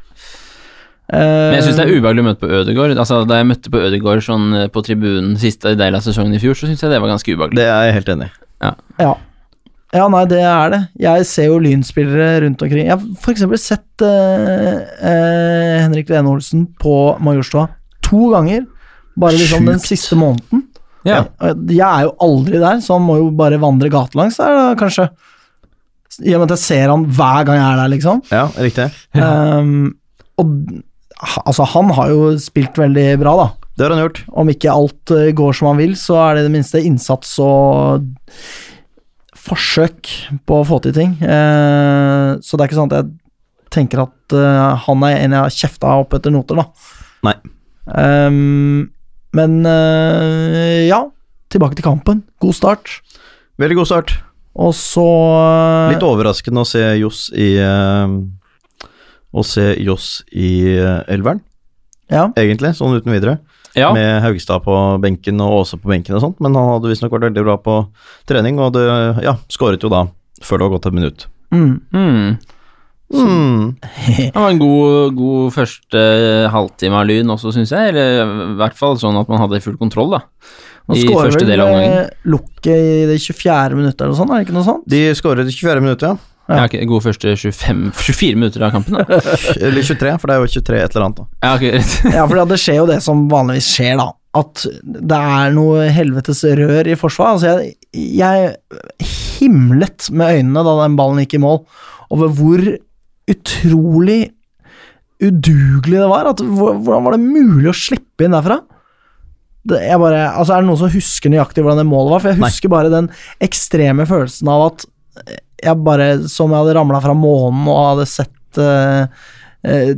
C: Men jeg syns
B: Eh.
C: det er ubehagelig å møte på Ødegaard. Altså, da jeg møtte på Ødegaard sånn, eh, på tribunen siste del av sesongen i fjor, så syns jeg det var ganske ubehagelig.
B: Det er jeg helt enig i.
A: Ja. ja, nei, det er det. Jeg ser jo lynspillere rundt omkring. Jeg har f.eks. sett eh, eh, Henrik Lene Olsen på Majorstua to ganger. Bare liksom den
B: Sjukt.
A: siste måneden.
C: Ja.
A: Og Jeg er jo aldri der, så han må jo bare vandre gatelangs der, da, kanskje. I og med at jeg ser han hver gang jeg er der, liksom.
B: Ja, riktig.
A: Ehm, og ha- altså, han har jo spilt veldig bra, da.
B: Det har han gjort.
A: Om ikke alt eh, går som han vil, så er det i det minste innsats og forsøk på å få til ting. Eh, så det er ikke sånn at jeg tenker at eh, han er en jeg har kjefta opp etter noter, da.
B: Nei.
A: Ehm, men eh, ja, tilbake til kampen. God start.
B: Veldig god start.
A: Og så
B: Litt overraskende å se Johs i eh, Å se Johs i eh, elveren,
A: ja,
B: egentlig, sånn uten videre.
C: Ja.
B: Med Haugstad på benken og Aase på benken og sånt, men han hadde visstnok vært veldig bra på trening, og det ja, skåret jo da før det var gått et minutt.
A: mm,
C: Mm.
B: Mm.
C: Det var en god, god første eh, halvtime av Lyn også, syns jeg. Eller i hvert fall sånn at man hadde full kontroll, da.
A: Han
C: I
A: skårer
C: første del av
A: vel,
C: omgangen.
A: eh, Lukke i det 24. minuttet eller noe sånt, er det ikke noe sånt?
B: De skåret i 24 minutter, ja.
A: Ja.
C: Ja. ok, gode første 25, 24 minutter av kampen, da.
B: Eller 23, for det er jo 23 et eller annet. da.
C: Ja, ok, rett.
A: Ja, for det skjer jo det som vanligvis skjer, da. At det er noe helvetes rør i forsvar. Altså, jeg, jeg himlet med øynene da den ballen gikk i mål, over hvor utrolig udugelig det var. At, hvor- hvordan var det mulig å slippe inn derfra? Det, jeg bare, altså, er det noen som husker nøyaktig hvordan det målet var? For jeg
B: Nei.
A: husker bare den ekstreme følelsen av at jeg bare, som jeg hadde ramla fra månen og hadde sett eh, eh,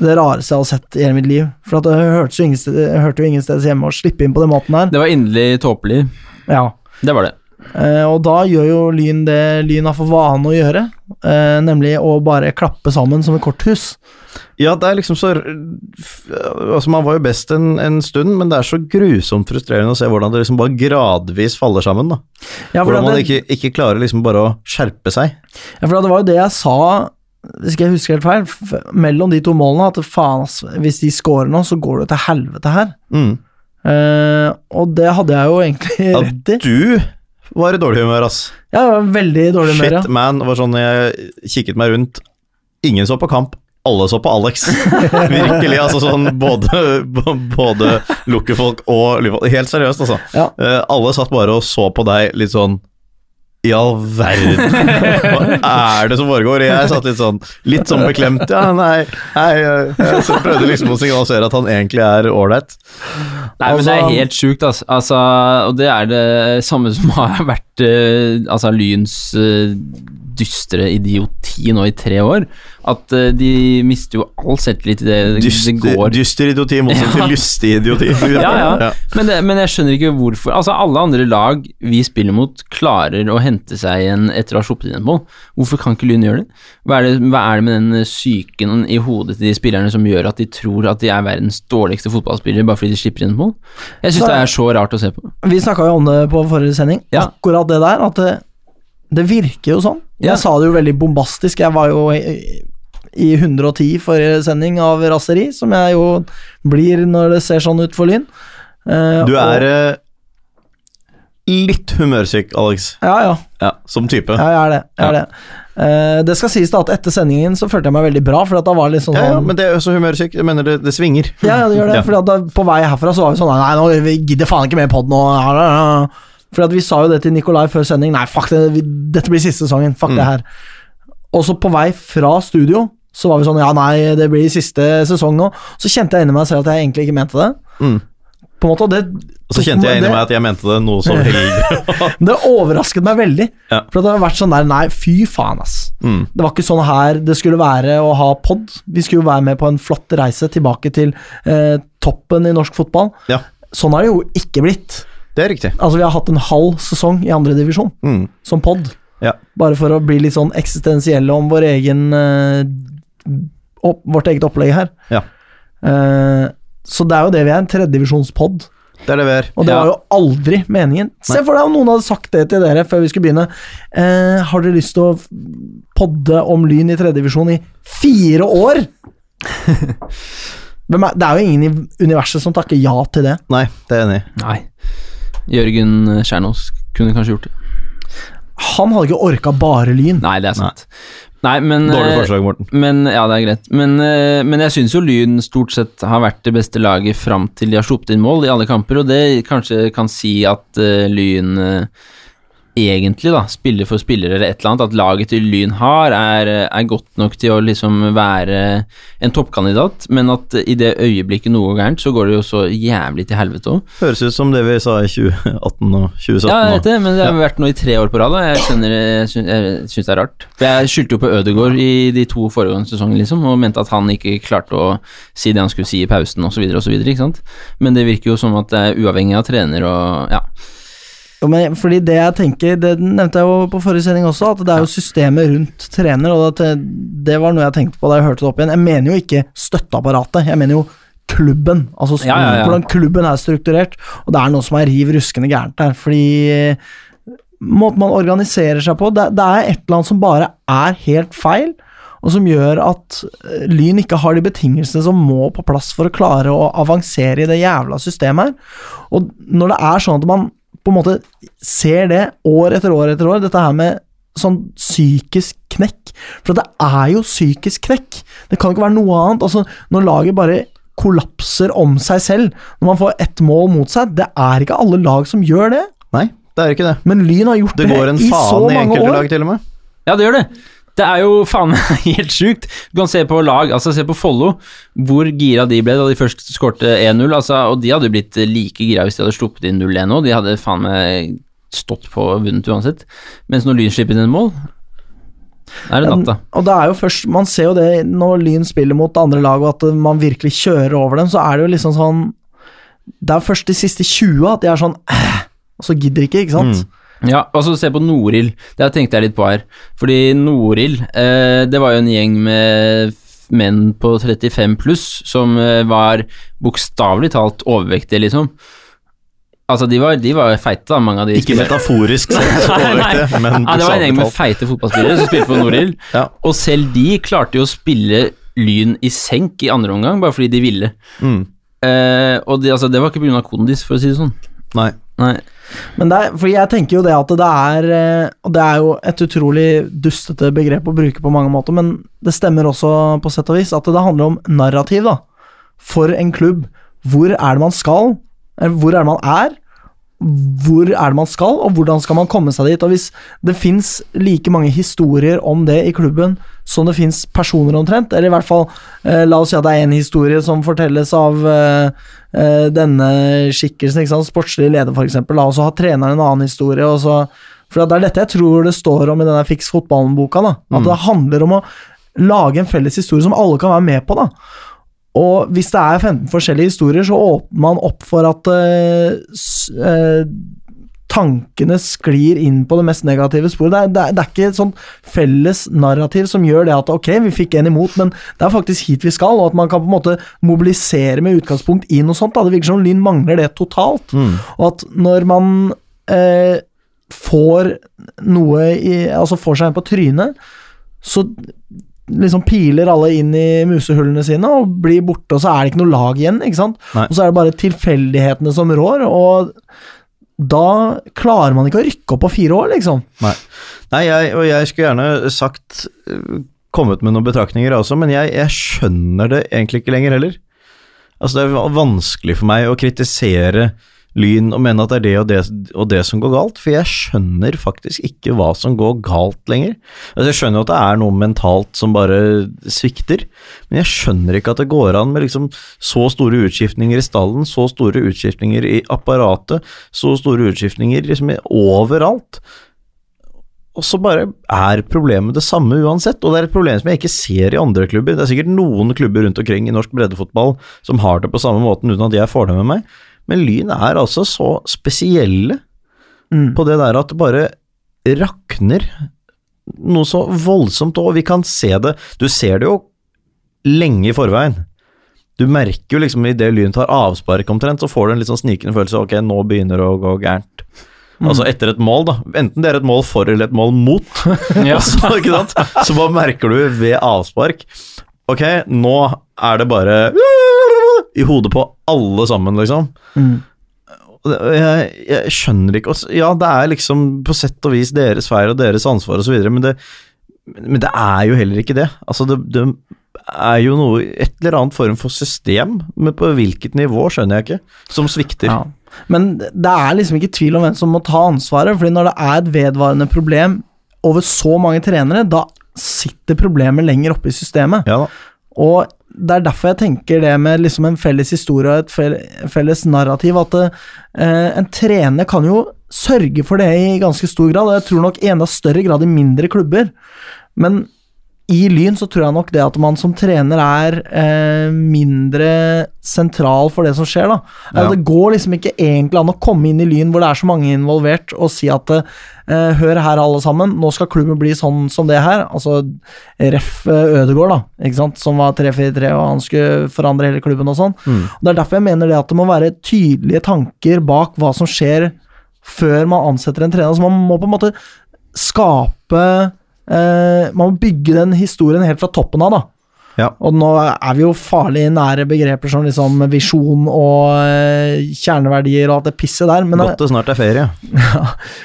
A: det rareste jeg hadde sett i hele mitt liv. For at jeg hørte jo ingen, sted, jeg hørte jo ingen steds hjemme å slippe inn på den måten her.
C: Det var inderlig tåpelig.
A: Ja.
C: Det var det.
A: Eh, og da gjør jo Lyn det Lyn har for vane å gjøre, eh, nemlig å bare klappe sammen som et korthus.
B: Ja, det er liksom så Altså, man var jo best en, en stund, men det er så grusomt frustrerende å se hvordan det liksom bare gradvis faller sammen, da.
A: Ja, for
B: Hvordan man
A: det-
B: ikke, ikke klarer liksom bare å skjerpe seg.
A: Ja, for det var jo det jeg sa, hvis ikke jeg husker helt feil, f mellom de to målene, at faen, ass, hvis de scorer nå, så går det til helvete her.
B: Mm.
A: Eh, og det hadde jeg jo egentlig
B: Ja,
A: rett i.
B: du var i dårlig humør, ass.
A: Jeg var veldig i dårlig humør, ja.
B: Shit, man. Det var sånn jeg kikket meg rundt. Ingen så på kamp. Alle så på Alex. Virkelig, altså sånn både, både lukkefolk og lydfolk. Helt seriøst, altså.
A: Ja.
B: Eh, alle satt bare og så på deg litt sånn i all verden, hva er det som foregår? Jeg satt litt sånn litt sånn beklemt. Ja, nei, nei eh, Så prøvde liksom å signalisere at han egentlig er ålreit.
C: Nei, men Det
A: Altså-
C: er helt sjukt, altså. altså. Og det er det samme som har vært eh, altså, Lyns eh, dystre idioti nå i tre år. At eh, de mister jo all selvtillit i det det
B: Dyster,
C: går.
B: dyster idioti i motsetning til lystig idioti.
C: Ja, ja. Men, det, men jeg skjønner ikke hvorfor Altså, alle andre lag vi spiller mot, klarer å hente seg igjen etter å ha sluppet inn et mål. Hvorfor kan ikke Lyn gjøre det? Hva er det, hva er det med den eh, psyken i hodet til de spillerne som gjør at de tror at de er verdens dårligste fotballspillere bare fordi de slipper inn et mål? Jeg
A: Så-
C: syns det er så rart å se på.
A: Vi snakka jo om det på forrige sending,
C: Ja.
A: akkurat det der, at det, det virker jo sånn. Jeg
C: Ja.
A: sa det jo veldig bombastisk, jeg var jo i, i 110 forrige sending av raseri, som jeg jo blir når det ser sånn ut for Lyn. Eh,
B: Du er
A: og,
B: eh, litt humørsyk, Alex.
A: Ja, ja.
B: Som type.
A: Ja, jeg er det. Jeg er det. Eh, det skal sies da at etter sendingen så følte jeg meg veldig bra, for at da var det litt sånn
B: Ja, ja, men det er jo så humørsyk. Jeg mener, det, det svinger.
A: Ja, ja, det gjør det.
B: Ja.
A: Fordi at da, på vei herfra så var vi sånn Nei, nå vi gidder faen ikke mer pod nå. Ja, ja, ja. Fordi at vi sa jo det til Nikolai før sending. Nei, fuck det, vi, dette blir siste sesongen. Fuck
B: Mm.
A: det her. Og så på vei fra studio så var vi sånn Ja, nei, det blir siste sesong nå. Så kjente jeg inni meg selv at jeg egentlig ikke mente det.
B: Mm.
A: På en måte, og det
B: Og så kjente jeg inni meg at jeg mente det noe som helg.
A: Det overrasket meg veldig.
B: Ja.
A: For at det har vært sånn der Nei, fy faen, ass.
B: Mm.
A: Det var ikke sånn her det skulle være å ha pod. Vi skulle jo være med på en flott reise tilbake til eh, toppen i norsk fotball.
B: Ja,
A: Sånn har det jo ikke blitt.
B: det er riktig.
A: Altså, vi har hatt en halv sesong i andredivisjon
B: Mm.
A: som pod.
B: Ja.
A: Bare for å bli litt sånn eksistensielle om vår egen eh, opp, vårt eget opplegg her.
B: Ja.
A: Eh, så det er jo det vi er, en tredjedivisjonspod.
B: Det er det vi er.
A: Og det
C: Ja.
A: var jo aldri meningen. Se for deg om noen hadde sagt det til dere før vi skulle begynne. Eh, har dere lyst til å podde om Lyn i tredjedivisjon i fire år? Hvem er, det er jo ingen i universet som takker ja til det.
B: Nei, det er jeg enig i.
C: Nei. Jørgen Kjernås kunne kanskje gjort det.
A: Han hadde ikke orka bare Lyn.
C: Nei, det er sant. Nei, men
B: Dårlig
C: eh,
B: forslag, Morten.
C: Men, ja, det er greit. Men, eh, men jeg syns jo Lyn stort sett har vært det beste laget fram til de har sluppet inn mål i alle kamper, og det kanskje kan si at eh, Lyn eh, egentlig, da, spiller for spillere eller et eller annet, at laget til Lyn har, er, eh, er godt nok til å liksom være en toppkandidat, men at eh, i det øyeblikket noe går gærent, så går det jo så jævlig til helvete òg.
B: Høres ut som det vi sa i 2018 og 2017.
C: Ja, jeg vet
B: og-
C: det, men det har vært noe i tre år på rad. da. Jeg, skjønner, jeg, syns, jeg syns det er rart. For Jeg skyldte jo på Ødegaard i de to foregående sesongene liksom, og mente at han ikke klarte å si det han skulle si i pausen osv. Men det virker jo som at det er uavhengig av trener og ja.
A: Jo, Men, fordi det jeg tenker, det nevnte jeg jo på forrige sending også, at det er jo systemet rundt trener, og at det, det var noe jeg tenkte på da jeg hørte det opp igjen. Jeg mener jo ikke støtteapparatet, jeg mener jo klubben. Altså
C: Ja, ja, ja.
A: hvordan klubben er strukturert, og det er noe som er riv ruskende gærent der, fordi eh, måten man organiserer seg på, det, det er et eller annet som bare er helt feil, og som gjør at eh, Lyn ikke har de betingelsene som må på plass for å klare å avansere i det jævla systemet her. Og når det er sånn at man på en måte ser det år etter år etter år, dette her med sånn psykisk knekk. For det er jo psykisk knekk. Det kan ikke være noe annet. Altså, når laget bare kollapser om seg selv, når man får ett mål mot seg, det er ikke alle lag som gjør det.
B: Nei, det er ikke det.
A: Men Lyn har gjort
B: Det går en
A: i så
B: faen i
A: mange
B: enkelte
A: år.
B: lag, til og med.
C: Ja, det gjør det. Det er jo faen meg helt sjukt. Du kan se på lag, altså se på Follo, hvor gira de ble da de først skårte 1-0. Altså, og de hadde jo blitt like gira hvis de hadde sluppet inn 0-1 nå. De hadde faen meg stått på og vunnet uansett. Mens når Lyn slipper inn en mål, da er det natta.
A: Og det er jo først, Man ser jo det når Lyn spiller mot det andre lag, og at man virkelig kjører over dem, så er det jo liksom sånn Det er først de siste 20 at de er sånn «Æh», Og så gidder de ikke, ikke sant?
B: Mm.
C: Ja, altså se på Norild. Det har jeg tenkt jeg litt på her. Fordi Norild, eh, det var jo en gjeng med f- menn på 35 pluss som eh, var bokstavelig talt overvektige, liksom. Altså, de var, de var feite, da, mange av de.
B: Ikke metaforisk sett, så
C: Nei, nei.
B: overvektig, men
C: Ja, det var en gjeng
B: bokstavelig
C: med
B: talt.
C: feite fotballspillere som spilte på Norild.
B: Ja.
C: Og selv de klarte jo å spille Lyn i senk i andre omgang, bare fordi de ville.
B: Mm.
C: Eh, og de, altså, det var ikke pga. kondis, for å si det sånn.
B: Nei.
C: Nei.
A: Men det er, fordi jeg tenker jo det at det er eh, Og det er jo et utrolig dustete begrep å bruke på mange måter, men det stemmer også på sett og vis at det handler om narrativ, da. For en klubb. Hvor er det man skal? Eller Hvor er det man er? Hvor er det man skal, og hvordan skal man komme seg dit? Og hvis det fins like mange historier om det i klubben som det fins personer omtrent, eller i hvert fall eh, La oss si at det er en historie som fortelles av eh, eh, denne skikkelsen, ikke sant? sportslig leder f.eks., og så har treneren en annen historie. og så... For det er dette jeg tror det står om i denne Fiks fotballen-boka. da, At det handler om å lage en felles historie som alle kan være med på. da. Og hvis det er 15 forskjellige historier, så åpner man opp for at eh, s- eh, tankene sklir inn på det mest negative sporet. Det er, det, er, det er ikke et sånt felles narrativ som gjør det at ok, vi fikk en imot, men det er faktisk hit vi skal, og at man kan på en måte mobilisere med utgangspunkt i noe sånt. Da. Det virker som Lyn mangler det totalt. Og at når man eh, får noe i, Altså får seg en på trynet, så liksom piler alle inn i musehullene sine og blir borte, og så er det ikke noe lag igjen, ikke sant?
B: Nei.
A: Og så er det bare tilfeldighetene som rår, og da klarer man ikke å rykke opp på fire år, liksom.
B: Nei, Nei jeg, og jeg skulle gjerne sagt øh, Kommet med noen betraktninger også, men jeg, jeg skjønner det egentlig ikke lenger heller. Altså, det er va- vanskelig for meg å kritisere Lyn og mene at det er det og, det og det som går galt, for jeg skjønner faktisk ikke hva som går galt lenger. Altså, jeg skjønner jo at det er noe mentalt som bare svikter, men jeg skjønner ikke at det går an med liksom så store utskiftninger i stallen, så store utskiftninger i apparatet, så store utskiftninger liksom i- overalt. Og så bare er problemet det samme uansett, og det er et problem som jeg ikke ser i andre klubber. Det er sikkert noen klubber rundt omkring i norsk breddefotball som har det på samme måten, uten at jeg får det med meg, men Lyn er altså så spesielle
A: Mm.
B: på det der at det bare rakner noe så voldsomt, og vi kan se det Du ser det jo lenge i forveien. Du merker jo liksom idet Lyn tar avspark omtrent, så får du en litt sånn snikende følelse av ok, nå begynner det å gå gærent.
A: Mm.
B: Altså etter et mål, da. Enten det er et mål for eller et mål mot,
C: Ja.
B: så, ikke sant? så bare merker du ved avspark Ok, nå er det bare i hodet på alle sammen, liksom.
A: Mm.
B: Og det- Jeg, jeg skjønner ikke også- Ja, det er liksom på sett og vis deres feil og deres ansvar osv., men, det- men det er jo heller ikke det. Altså, det, det er jo noe Et eller annet form for system, men på hvilket nivå, skjønner jeg ikke, som svikter.
A: Ja. Men det er liksom ikke tvil om hvem som må ta ansvaret, fordi når det er et vedvarende problem over så mange trenere, da sitter problemet lenger oppe i systemet.
B: Ja da.
A: Og det er derfor jeg tenker det med liksom en felles historie og et fel- felles narrativ, at eh, en trener kan jo sørge for det i ganske stor grad, og jeg tror nok i enda større grad i mindre klubber. Men i Lyn så tror jeg nok det at man som trener er eh, mindre sentral for det som skjer, da.
B: Ja.
A: At Det går liksom ikke egentlig an å komme inn i Lyn hvor det er så mange involvert, og si at eh, hør her, alle sammen, nå skal klubben bli sånn som det her. Altså ref. eh, Ødegård, da, ikke sant? som var 3-4-3, og han skulle forandre hele klubben og sånn. Og Det er derfor jeg mener det at det må være tydelige tanker bak hva som skjer før man ansetter en trener. Så man må på en måte skape eh, Man må bygge den historien helt fra toppen av, da.
B: Ja.
A: Og nå er vi jo farlig nære begreper som liksom visjon og eh, kjerneverdier og alt det pisset der, men, eh,
B: Godt det snart er ferie.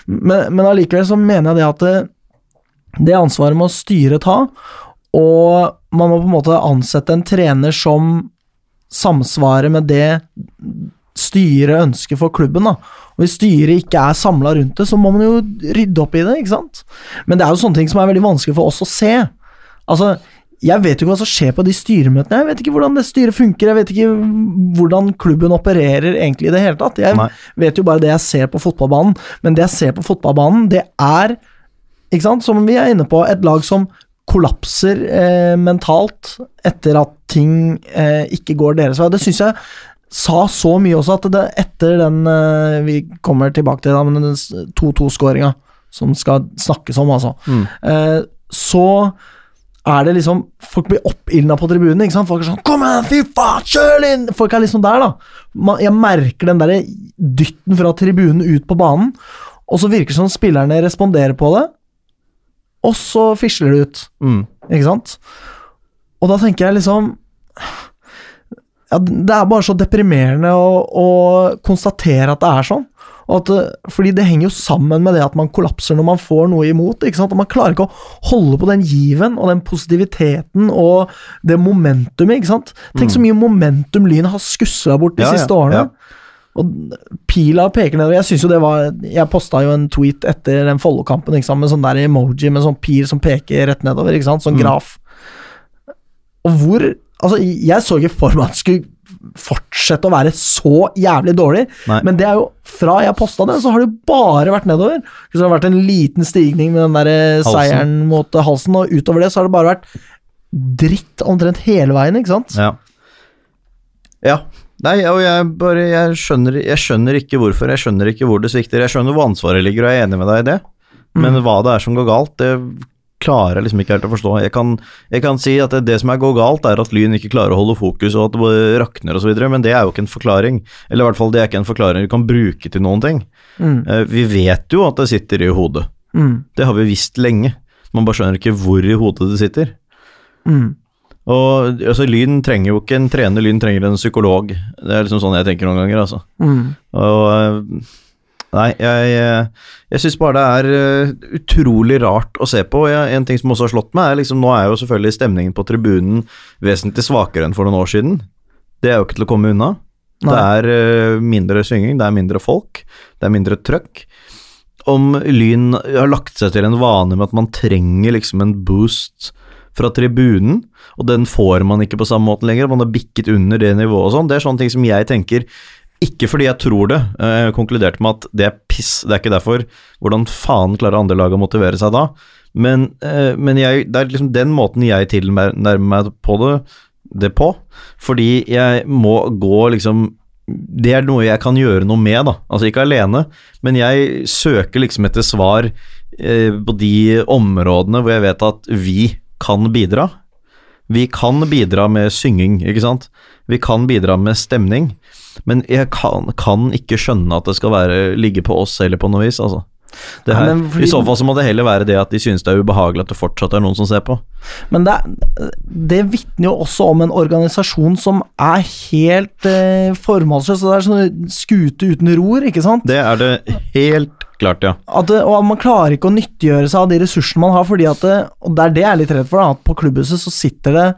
A: men, men allikevel så mener jeg det at det, det ansvaret må styret ta, og man må på en måte ansette en trener som samsvarer med det styret ønsker for klubben. da. Og Hvis styret ikke er samla rundt det, så må man jo rydde opp i det. ikke sant? Men det er jo sånne ting som er veldig vanskelig for oss å se. Altså, jeg vet jo ikke hva som skjer på de styremøtene. Jeg vet ikke hvordan det styret funker. Jeg vet ikke hvordan klubben opererer egentlig i det hele tatt. Jeg
B: Nei.
A: vet jo bare det jeg ser på fotballbanen. Men det jeg ser på fotballbanen, det er, ikke sant, som vi er inne på, et lag som kollapser eh, mentalt etter at ting eh, ikke går deres vei. Det syns jeg sa så mye også at det, etter den eh, vi kommer tilbake til, da, men den s- 2-2-skåringa som skal snakkes om, altså, eh, så er det liksom Folk blir oppildna på tribunen. ikke sant? Folk er sånn 'Kom igjen, fy faen, kjør inn!' Folk er liksom der, da. Man, jeg merker den derre dytten fra tribunen ut på banen, og så virker det som spillerne responderer på det, og så fisler det ut.
B: Mm.
A: Ikke sant? Og da tenker jeg liksom ja, Det er bare så deprimerende å, å konstatere at det er sånn. Og at, eh, fordi det henger jo sammen med det at man kollapser når man får noe imot. Ikke sant? Og man klarer ikke å holde på den given og den positiviteten og det momentumet. Ikke sant? Tenk så mye momentum Lyn har skusla bort de
B: Mm. Ja, ja,
A: siste årene.
B: ja.
A: Og pila peker nedover. Jeg synes jo det var Jeg posta jo en tweet etter den Follo-kampen ikke sant, med sånn der emoji med sånn pil som peker rett nedover. Ikke
B: Mm.
A: sant? Sånn graf. Og hvor Altså, jeg så ikke for meg at det skulle fortsette å være så jævlig dårlig,
B: Nei.
A: men det er jo Fra jeg posta det, så har det jo bare vært nedover. Så det har vært en liten stigning med den der eh,
B: Halsen.
A: seieren mot eh, halsen, og utover det så har det bare vært dritt omtrent hele veien, ikke sant?
B: Ja. ja. Nei, og jeg bare jeg skjønner, jeg skjønner ikke hvorfor, jeg skjønner ikke hvor det svikter. Jeg skjønner hvor ansvaret ligger, og jeg er enig med deg i det,
A: Mm.
B: men hva det er som går galt, det klarer jeg liksom ikke helt å forstå. Jeg kan, jeg kan si at det, det som er går galt, er at Lyn ikke klarer å holde fokus, og at det bare rakner osv., men det er jo ikke en forklaring. Eller i hvert fall, det er ikke en forklaring du kan bruke til noen ting.
A: Mm.
B: Eh, Vi vet jo at det sitter i hodet.
A: Mm.
B: Det har vi visst lenge. Man bare skjønner ikke hvor i hodet det sitter.
A: Mm.
B: Og altså, Lyn trenger jo ikke en trener, Lyn trenger en psykolog. Det er liksom sånn jeg tenker noen ganger, altså.
A: Mm.
B: Og eh, Nei, jeg, eh, jeg syns bare det er eh, utrolig rart å se på. og Jeg, en ting som også har slått meg, er liksom Nå er jo selvfølgelig stemningen på tribunen vesentlig svakere enn for noen år siden. Det er jo ikke til å komme unna. Det
A: Nei.
B: er eh, mindre synging, det er mindre folk, det er mindre trøkk. Om Lyn har lagt seg til en vane med at man trenger liksom en boost fra tribunen, og den får man ikke på samme måte lenger, man har bikket under det nivået og sånn, det er sånne ting som jeg tenker ikke fordi jeg tror det, eh, konkluderte med at det er piss, det er ikke derfor. Hvordan faen klarer andre lag å motivere seg da? Men, eh, men jeg, det er liksom den måten jeg tilnærmer meg på det, det på. Fordi jeg må gå liksom Det er noe jeg kan gjøre noe med, da. Altså ikke alene, men jeg søker liksom etter svar eh, på de områdene hvor jeg vet at vi kan bidra. Vi kan bidra med synging, ikke sant. Vi kan bidra med stemning. Men jeg kan, kan ikke skjønne at det skal være, ligge på oss eller på noe vis, altså. Det
A: Ja,
B: her.
A: men fordi-
B: I så fall så må det heller være det at de synes det er ubehagelig at det fortsatt er noen som ser på.
A: Men det, er- det vitner jo også om en organisasjon som er helt eh, formålsløs. og Det er sånn skute uten ror, ikke sant?
B: Det er det helt klart, ja.
A: At, det- og at man klarer ikke å nyttiggjøre seg av de ressursene man har, fordi at det, og det er det jeg er litt redd for, da, at på klubbhuset så sitter det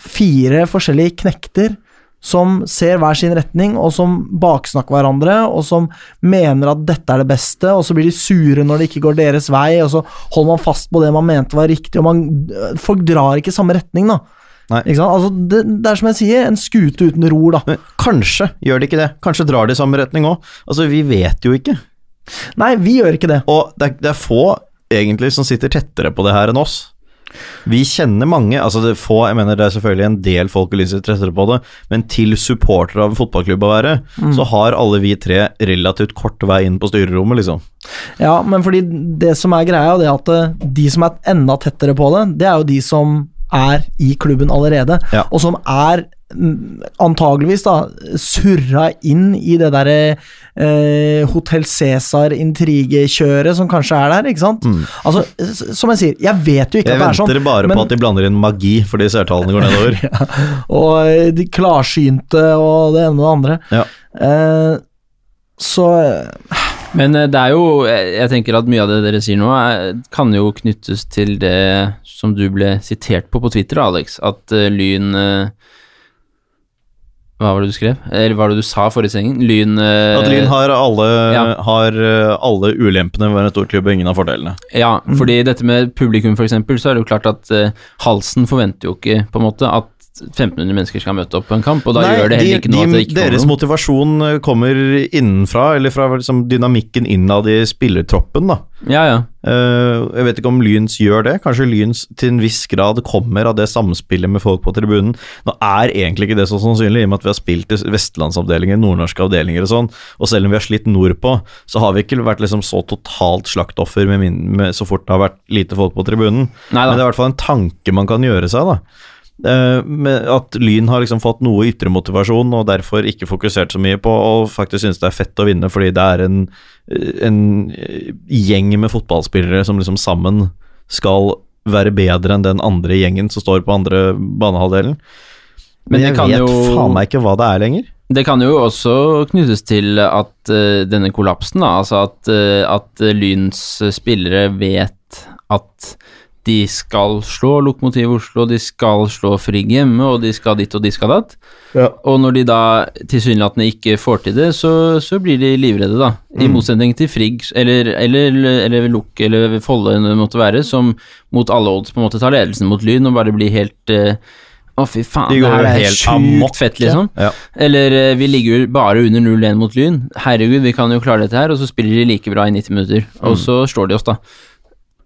A: fire forskjellige knekter som ser hver sin retning, og som baksnakker hverandre, og som mener at dette er det beste, og så blir de sure når det ikke går deres vei, og så holder man fast på det man mente var riktig, og man, eh, folk drar ikke i samme retning, da.
B: Nei.
A: Ikke sant? Altså, det, det er som jeg sier, en skute uten ror, da.
B: Men kanskje gjør de ikke det. Kanskje drar de i samme retning òg. Altså, vi vet jo ikke.
A: Nei, vi gjør ikke det.
B: Og det er, det er få egentlig som sitter tettere på det her enn oss. Vi kjenner mange, altså det er få, jeg mener det er selvfølgelig en del folk som sitter tettere på det, men til supporter av en fotballklubb å være,
A: Mm.
B: så har alle vi tre relativt kort vei inn på styrerommet, liksom.
A: Ja, men fordi det som er greia, det er at eh, de som er enda tettere på det, det er jo de som er i klubben allerede,
B: Ja.
A: og som er mm, antageligvis da surra inn i det derre eh, Hotell Cæsar-intrigekjøret som kanskje er der, ikke sant? Altså, s- som jeg sier, jeg vet jo ikke
B: Mm.
A: at
B: Jeg
A: det er sånn.
B: venter bare
A: men-
B: på at de blander inn magi fordi seertallene går nedover.
A: og eh, de klarsynte og det ene og det andre.
B: Ja.
A: Eh, så
C: Men eh, det er jo Jeg jeg tenker at mye av det dere sier nå, er, kan jo knyttes til det som du ble sitert på på Twitter, Alex. At eh, Lyn eh, Hva var det du skrev? Eller hva var det du sa forrige sending? Lyn eh,
B: At Lyn har alle,
C: Ja.
B: har eh, alle ulempene ved en stor klubb og ingen av fordelene.
C: Ja,
B: Mm.
C: fordi dette med publikum, for eksempel, så er det jo klart at eh, Halsen forventer jo ikke, på en måte, at 1500 mennesker skal møte opp på en kamp, og da
B: Nei,
C: gjør det heller ikke noe at det ikke kommer
B: Deres
C: noen.
B: motivasjon eh, kommer innenfra, eller fra liksom, dynamikken innad i spillertroppen, da.
C: Ja, ja.
B: Eh, jeg vet ikke om Lyns gjør det. Kanskje Lyns til en viss grad kommer av det samspillet med folk på tribunen. Nå er egentlig ikke det så sannsynlig, i og med at vi har spilt i vestlandsavdelinger, nordnorske avdelinger og sånn, og selv om vi har slitt nordpå, så har vi ikke vært liksom så totalt slaktoffer med min, med, så fort det har vært lite folk på tribunen.
C: Neida.
B: Men det er i hvert fall en tanke man kan gjøre seg, da. Eh, med at Lyn har liksom fått noe ytre motivasjon og derfor ikke fokusert så mye på og faktisk synes det er fett å vinne fordi det er en, en eh, gjeng med fotballspillere som liksom sammen skal være bedre enn den andre gjengen som står på andre banehalvdelen. Men,
C: Men det
B: jeg
C: kan
B: vet
C: jo-
B: faen meg ikke hva det er lenger.
C: Det kan jo også knyttes til at eh, denne kollapsen, da, altså at, eh, at Lyns spillere vet at de skal slå Lokomotiv Oslo, de skal slå Frigg hjemme, og de skal dit og de skal datt. Og når de da tilsynelatende ikke får til det, så, så blir de livredde, da. I
B: Mm.
C: motsetning til Frigg eller, eller, eller Lok eller Folle, når det måtte være, som mot alle odds på en måte tar ledelsen mot Lyn og bare blir helt eh, å, fy faen,
B: De
C: det
B: går
C: her
B: jo
C: er
B: helt amok,
C: sjukt fett, liksom.
B: Ja.
C: Eller eh, vi ligger jo bare under 0-1 mot Lyn. Herregud, vi kan jo klare dette her. Og så spiller de like bra i 90 minutter, og
B: Mm.
C: så slår de oss, da.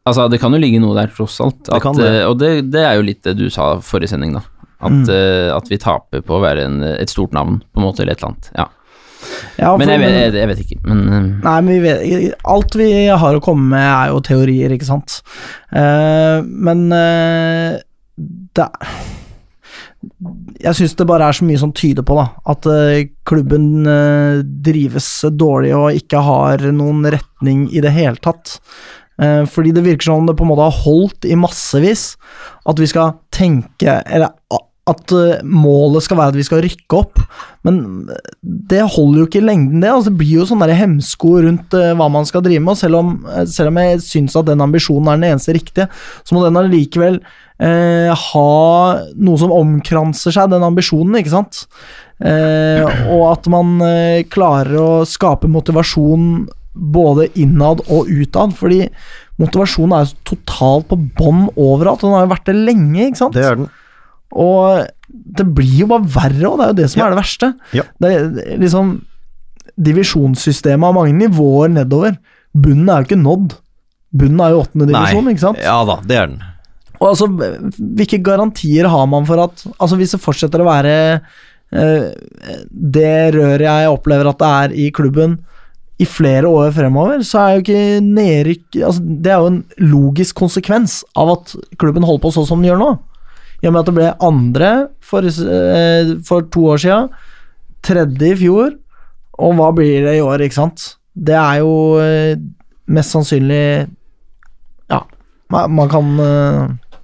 C: Altså, det kan jo ligge noe der, tross alt. At,
B: kan det. Mm.
C: eh, Og det, det er jo litt det du sa forrige sending, da. At, eh, at vi taper på å være en, et stort navn, på en måte, eller et eller annet. Ja.
A: ja,
C: Men
A: for-
C: jeg vet, jeg, jeg vet ikke. Men eh,
A: Nei, men vi vet, alt vi har å komme med, er jo teorier, ikke sant. Eh, men eh, det Jeg syns det bare er så mye som tyder på da, at eh, klubben eh, drives dårlig og ikke har noen retning i det hele tatt. Eh, fordi det virker som om det på en måte har holdt i massevis. At vi skal tenke Eller a- at eh, målet skal være at vi skal rykke opp. Men eh, det holder jo ikke i lengden, det. Altså, det blir jo sånn der hemsko rundt eh, hva man skal drive med. Og selv om, eh, selv om jeg syns at den ambisjonen er den eneste riktige, så må den allikevel eh, ha noe som omkranser seg den ambisjonen, ikke sant? Eh, og at man eh, klarer å skape motivasjon både innad og utad, fordi motivasjonen er jo totalt på bånn overalt. og Den har jo vært det lenge, ikke sant?
B: Det er den.
A: Og det blir jo bare verre, og det er jo det som
B: Ja.
A: er det verste.
B: Ja.
A: Det er liksom Divisjonssystemet har mange nivåer nedover. Bunnen er jo ikke nådd. Bunnen er jo åttende divisjon,
B: sånn,
A: ikke sant?
B: Ja da, det er den.
A: Og altså, hvilke garantier har man for at Altså, hvis det fortsetter å være eh, det røret jeg opplever at det er i klubben i flere år fremover, så er jo ikke nedrykk altså, Det er jo en logisk konsekvens av at klubben holder på sånn som den gjør nå. I og med at det ble andre for, eh, for to år sia, tredje i fjor, og hva blir det i år, ikke sant? Det er jo eh, mest sannsynlig Ja, man, man kan eh,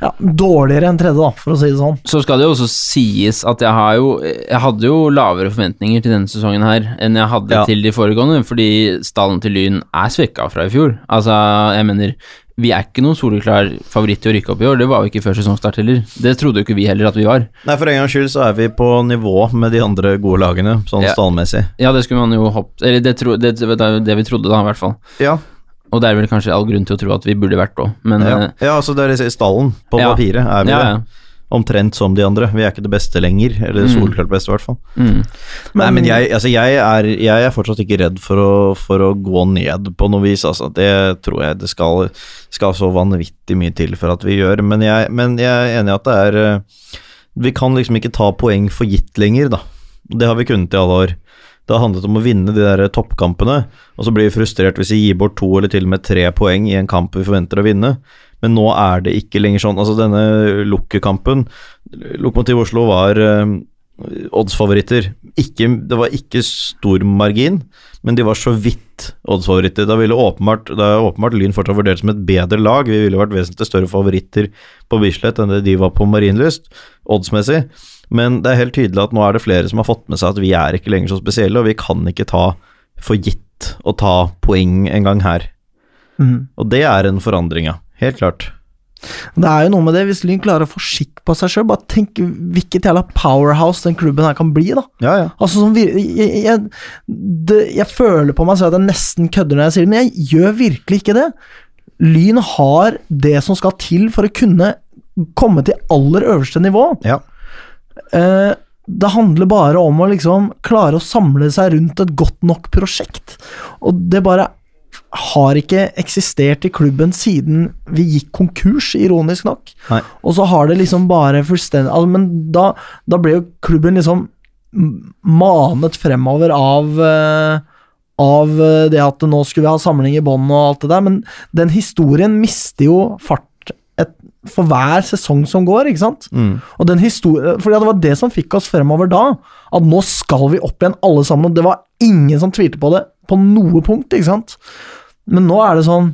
A: Ja, dårligere enn tredje, da, for å si det sånn.
C: Så skal det jo også sies at jeg har jo Jeg hadde jo lavere forventninger til denne sesongen her enn jeg hadde
B: Ja.
C: til de foregående, fordi stallen til Lyn er svekka fra i fjor. Altså, jeg mener vi er ikke noen soleklar favoritt til å rykke opp i år. Det var vi ikke før sesongstart heller. Det trodde jo ikke vi heller at vi var.
B: Nei, for en gangs skyld så er vi på nivå med de andre gode lagene, sånn
C: Ja.
B: stallmessig.
C: Ja, det skulle man jo hoppet Eller det, tro, det, det er jo det vi trodde, da, i hvert fall.
B: Ja,
C: Og det er vel kanskje all grunn til å tro at vi burde vært òg, men
B: ja.
C: eh,
B: ja altså det er liksom i stallen, på
C: Ja.
B: papiret, er vi
C: ja,
B: det. Omtrent som de andre. Vi er ikke det beste lenger, eller
C: Mm.
B: soleklart beste, i hvert fall.
C: ja. Mm.
B: Nei, men jeg, altså jeg, er, jeg er fortsatt ikke redd for å, for å gå ned på noe vis. Altså. Det tror jeg det skal, skal så vanvittig mye til for at vi gjør. Men jeg, men jeg er enig i at det er eh, Vi kan liksom ikke ta poeng for gitt lenger, da. Det har vi kunnet i alle år. Det har handlet om å vinne de der toppkampene, og så blir vi frustrert hvis vi gir bort to eller til og med tre poeng i en kamp vi forventer å vinne. Men nå er det ikke lenger sånn. Altså denne lukkekampen Lokomotiv Oslo var eh, oddsfavoritter. Ikke, det var ikke stor margin, men de var så vidt oddsfavoritter. Da ville åpenbart, da er åpenbart Lyn fortsatt vurdert som et bedre lag. Vi ville vært vesentlig større favoritter på Bislett enn det de var på Marienlyst, oddsmessig. Men det er helt tydelig at nå er det flere som har fått med seg at vi er ikke lenger så spesielle, og vi kan ikke ta for gitt å ta poeng en gang her.
A: Mm.
B: Og det er en forandring, ja. Helt klart.
A: Det er jo noe med det, hvis Lyn klarer å få skikk på seg sjøl, bare tenk hvilket jævla powerhouse den klubben her kan bli, da.
B: Ja, ja.
A: Altså, sånn, vir- jeg, jeg, det, jeg føler på meg selv at jeg nesten kødder når jeg sier det, men jeg gjør virkelig ikke det. Lyn har det som skal til for å kunne komme til aller øverste nivå.
B: Ja.
A: Eh, det handler bare om å liksom klare å samle seg rundt et godt nok prosjekt. Og det bare har ikke eksistert i klubben siden vi gikk konkurs, ironisk nok.
B: Nei.
A: Og så har det liksom bare fullstendig al- Men da, da ble jo klubben liksom m- manet fremover av eh, av eh, det at nå skulle vi ha samling i bånd og alt det der, men den historien mister jo fart et, for hver sesong som går, ikke sant?
B: Mm.
A: Og den historien, fordi det var det som fikk oss fremover da, at nå skal vi opp igjen alle sammen, og det var ingen som tvilte på det på noe punkt, ikke sant? Men nå er det sånn,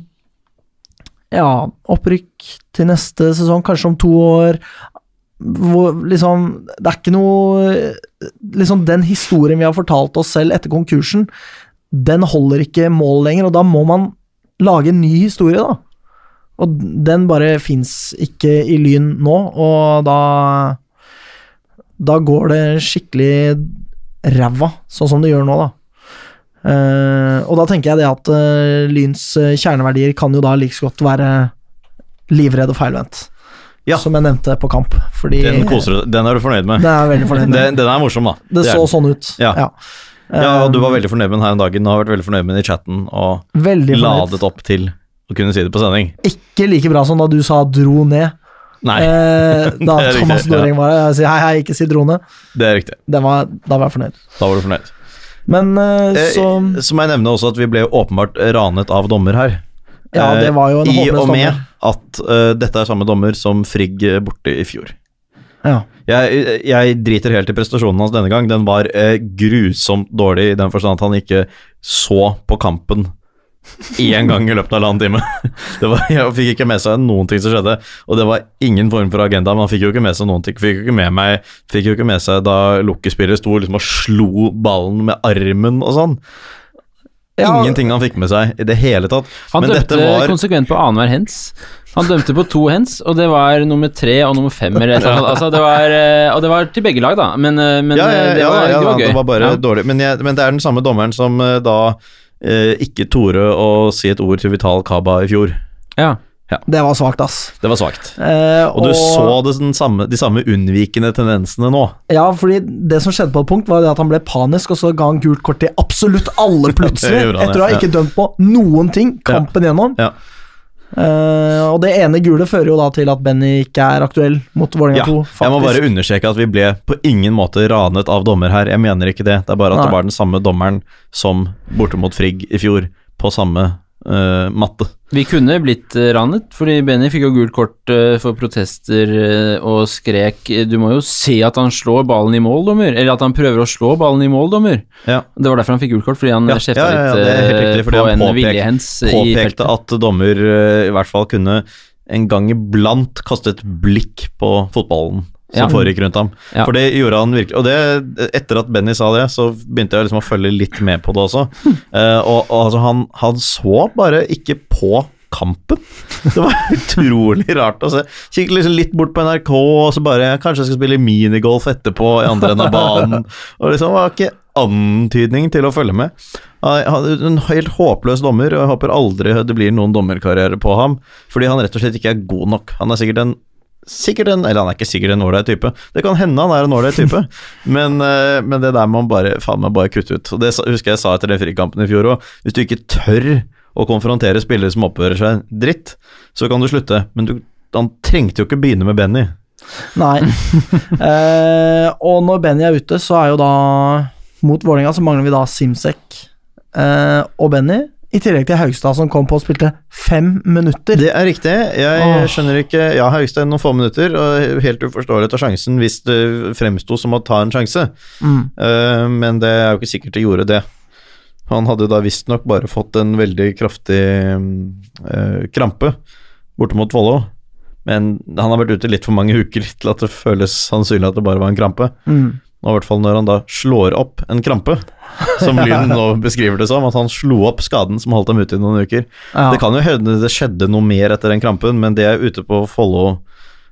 A: ja, opprykk til neste sesong, kanskje om to år, hvor liksom, det er ikke noe, liksom den historien vi har fortalt oss selv etter konkursen, den holder ikke mål lenger, og da må man lage en ny historie da. Og den bare fins ikke i Lyn nå, og da Da går det skikkelig ræva, sånn som det gjør nå, da. Eh, og da tenker jeg det at eh, Lyns eh, kjerneverdier kan jo da like så godt være livredd og feilvendt,
B: Ja.
A: som jeg nevnte på Kamp. Fordi
B: Den koser du Den er du fornøyd med.
A: Den er jeg veldig fornøyd med.
B: Den, den er morsom, da.
A: Det
B: er
A: så
B: den.
A: sånn ut.
B: Ja. Ja, og du
A: Um,
B: var veldig fornøyd med den her en dag. Den har vært veldig fornøyd med den i chatten, og
A: Eh, Veldig fornøyd.
B: ladet opp til å kunne si det på sending.
A: Ikke like bra som da du sa 'dro ned'.
B: Nei,
A: Eh, da
B: Det er riktig,
A: Thomas
B: ja.
A: Doring var der. Jeg sier hei, hei, ikke si 'drone'.
B: det er riktig.
A: Den var, da var jeg fornøyd.
B: Da var du fornøyd.
A: Men eh,
B: Eh,
A: så
B: Så må jeg nevne også at vi ble jo åpenbart ranet av dommer her.
A: Ja, det var jo en
B: Eh, I
A: håpløs
B: og med
A: dommer.
B: at eh, dette er samme dommer som Frigg eh, borte i fjor.
A: Ja.
B: Jeg, jeg driter helt i prestasjonen hans denne gang. Den var eh, grusomt dårlig i den forstand at han ikke så på kampen én gang i løpet av halvannen time. Det var, jeg fikk ikke med seg noen ting som skjedde, og det var ingen form for agenda. Men han fikk jo ikke med seg noen ting. Fikk jo ikke med, meg, fikk jo ikke med seg da lukkespillet sto liksom og slo ballen med armen og sånn.
A: Ja.
B: Ingenting han fikk med seg i det hele tatt.
C: Han
B: men
C: dømte
B: dette var
C: konsekvent på annenhver hens. Han dømte på to hens, og det var nummer tre og nummer fem. Eller, et eller annet. altså, det var, eh, og det var til begge lag, da, men, eh, men
B: ja, ja, ja,
C: eh, det, var,
B: ja,
C: det var
B: ja,
C: gøy.
B: det var bare
C: Ja.
B: dårlig. Men, jeg, men det er den samme dommeren som eh, da eh, ikke torde å si et ord til Vital Kaba i fjor.
C: Ja.
A: Det var svakt, ass.
B: Det var svakt.
A: Eh,
B: Og du så det, den samme, de samme unnvikende tendensene nå.
A: Ja, fordi det som skjedde på et punkt, var det at han ble panisk, og så ga han gult kort til absolutt alle plutselig.
B: Det gjorde han,
A: etter å ha
B: ja.
A: ikke dømt på noen ting kampen gjennom.
B: Ja.
A: Eh, og det ene gule fører jo da til at Benny ikke er aktuell mot Vålerenga
B: Ja,
A: 2,
B: jeg må bare understreke at vi ble på ingen måte ranet av dommer her. Jeg mener ikke det. Det er bare at
A: Nei.
B: det var den samme dommeren som borte mot Frigg i fjor, på samme eh, matte.
C: Vi kunne blitt eh, ranet, fordi Benny fikk jo gult kort eh, for protester eh, og skrek eh, Du må jo se at han slår ballen i mål, dommer. Eller at han prøver å slå ballen i mål, dommer.
B: Ja.
C: Det var derfor han fikk gult kort, fordi han
B: Ja, ja,
C: ja,
B: ja,
C: litt
B: det er helt
C: eh,
B: riktig, fordi
C: på
B: han
C: en
B: påpek-
C: vilje hens eh, i
B: Påpekte
C: feltet.
B: at dommer eh, i hvert fall kunne en gang iblant kaste et blikk på fotballen som
C: Ja.
B: foregikk rundt ham.
C: Ja.
B: For det gjorde han virkelig. Og det, etter at Benny sa det, så begynte jeg liksom å følge litt med på det også. Eh, og og altså, han, han så bare ikke på kampen. Det var utrolig rart å se. Kikket liksom litt bort på NRK, og så bare Kanskje jeg skal spille minigolf etterpå i andre enden av banen. Og liksom var ikke antydning til å følge med. Han han- En helt håpløs dommer, og jeg håper aldri det blir noen dommerkarriere på ham. Fordi han rett og slett ikke er god nok. Han er sikkert en Sikkert en, eller han er ikke sikkert en ålreit type. Det kan hende han er en ålreit type, men, eh, men det der må han bare, faen meg bare kutte ut. Og det sa- husker jeg sa etter den frikampen i fjor òg. Hvis du ikke tør å konfrontere spillere som oppfører seg dritt, så kan du slutte. Men du, han trengte jo ikke begynne med Benny.
A: Nei. Eh, og når Benny er ute, så er jo da Mot Vålerenga så mangler vi da Simsek eh, og Benny. I tillegg til Haugstad, som kom på og spilte fem minutter.
B: Det er riktig. Jeg skjønner ikke Ja, Haugstein, noen få minutter, og helt uforståelig ta sjansen hvis det fremsto som å ta en sjanse,
A: Mm.
B: Eh, men det er jo ikke sikkert de gjorde det. Han hadde da visstnok bare fått en veldig kraftig eh, krampe borte mot Follo, men han har vært ute litt for mange uker til at det føles sannsynlig at det bare var en krampe.
A: Mm.
B: Og i hvert fall når han da slår opp en krampe, som Lyn nå beskriver det som, at han slo opp skaden som holdt ham ute i noen uker.
A: Ja.
B: Det kan jo hende det skjedde noe mer etter den krampen, men det er ute på Follo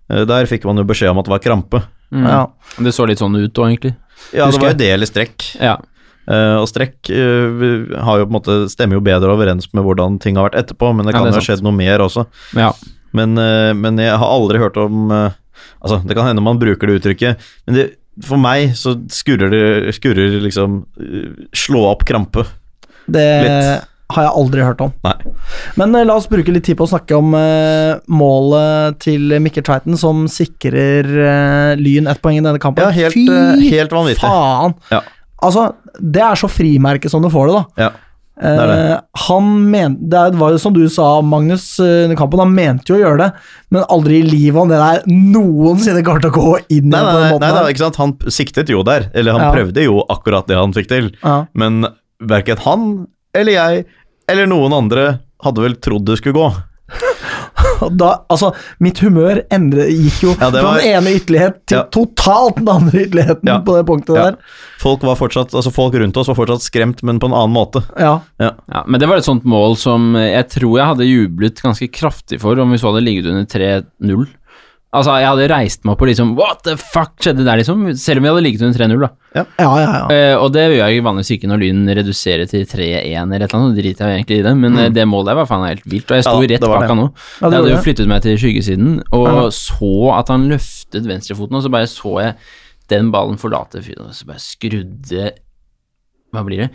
B: eh, der fikk man jo beskjed om at det var krampe.
C: Mm.
A: ja.
C: Det så litt sånn ut òg, egentlig.
B: Ja, det
C: Husker
B: var
C: jeg.
B: jo det eller strekk.
C: Ja.
B: Eh, og strekk eh, vi har jo på en måte, stemmer jo bedre overens med hvordan ting har vært etterpå, men det
C: Ja,
B: kan
C: det er
B: jo ha skjedd noe mer også.
C: ja.
B: Men, eh, men jeg har aldri hørt om eh, Altså, det kan hende man bruker det uttrykket, men det, for meg så skurrer det skurrer liksom eh, Slå opp krampe.
A: Det
B: Litt.
A: har jeg aldri hørt om.
B: Nei.
A: Men eh, la oss bruke litt tid på å snakke om eh, målet til Mikkel Tveiten, som sikrer eh, Lyn ett poeng i denne kampen.
B: Ja, helt,
A: Fy
B: eh, helt vanvittig.
A: faen!
B: Ja.
A: Altså, det er så frimerke som du får det, da.
B: Ja.
A: Eh,
B: er det.
A: Han men, det var jo som du sa, Magnus, eh, under kampen. Han mente jo å gjøre det, men aldri i livet om det der noensinne kommer til å gå inn
B: Nei,
A: igjen på
B: nei,
A: den
B: nei,
A: måten.
B: nei da,
A: her.
B: ikke sant? Han siktet jo der, eller han
A: Ja.
B: prøvde jo akkurat det han fikk til.
A: ja.
B: Men verken han eller jeg eller noen andre hadde vel trodd det skulle gå.
A: Og da, altså, mitt humør endre, gikk jo
B: Ja, det
A: fra
B: var-
A: den ene ytterlighet til
B: Ja.
A: totalt den andre ytterligheten
B: Ja.
A: på det punktet
B: Ja.
A: der.
B: Folk, var fortsatt, altså folk rundt oss var fortsatt skremt, men på en annen måte.
A: Ja.
C: Ja, men det var et sånt mål som jeg tror jeg hadde jublet ganske kraftig for om vi så hadde ligget under 3-0. Altså, jeg hadde reist meg opp og liksom What the fuck skjedde der, liksom? Selv om vi hadde ligget under 3-0, da.
A: Ja, ja, ja.
C: Eh, og det gjør jeg vanligvis ikke når Lyn reduserer til 3-1 eller et eller annet, så driter jeg jo egentlig i det, men eh, det målet der var faen helt vilt, og jeg sto
B: Ja, det
C: rett
B: var det.
C: bak han
A: Ja,
C: nå.
A: det
C: jeg hadde
A: gjorde
C: jo
A: det.
C: flyttet meg til skyggesiden, og
A: Ja.
C: så at han løftet venstrefoten, og så bare så jeg den ballen forlate fyren, og så bare skrudde Hva blir det?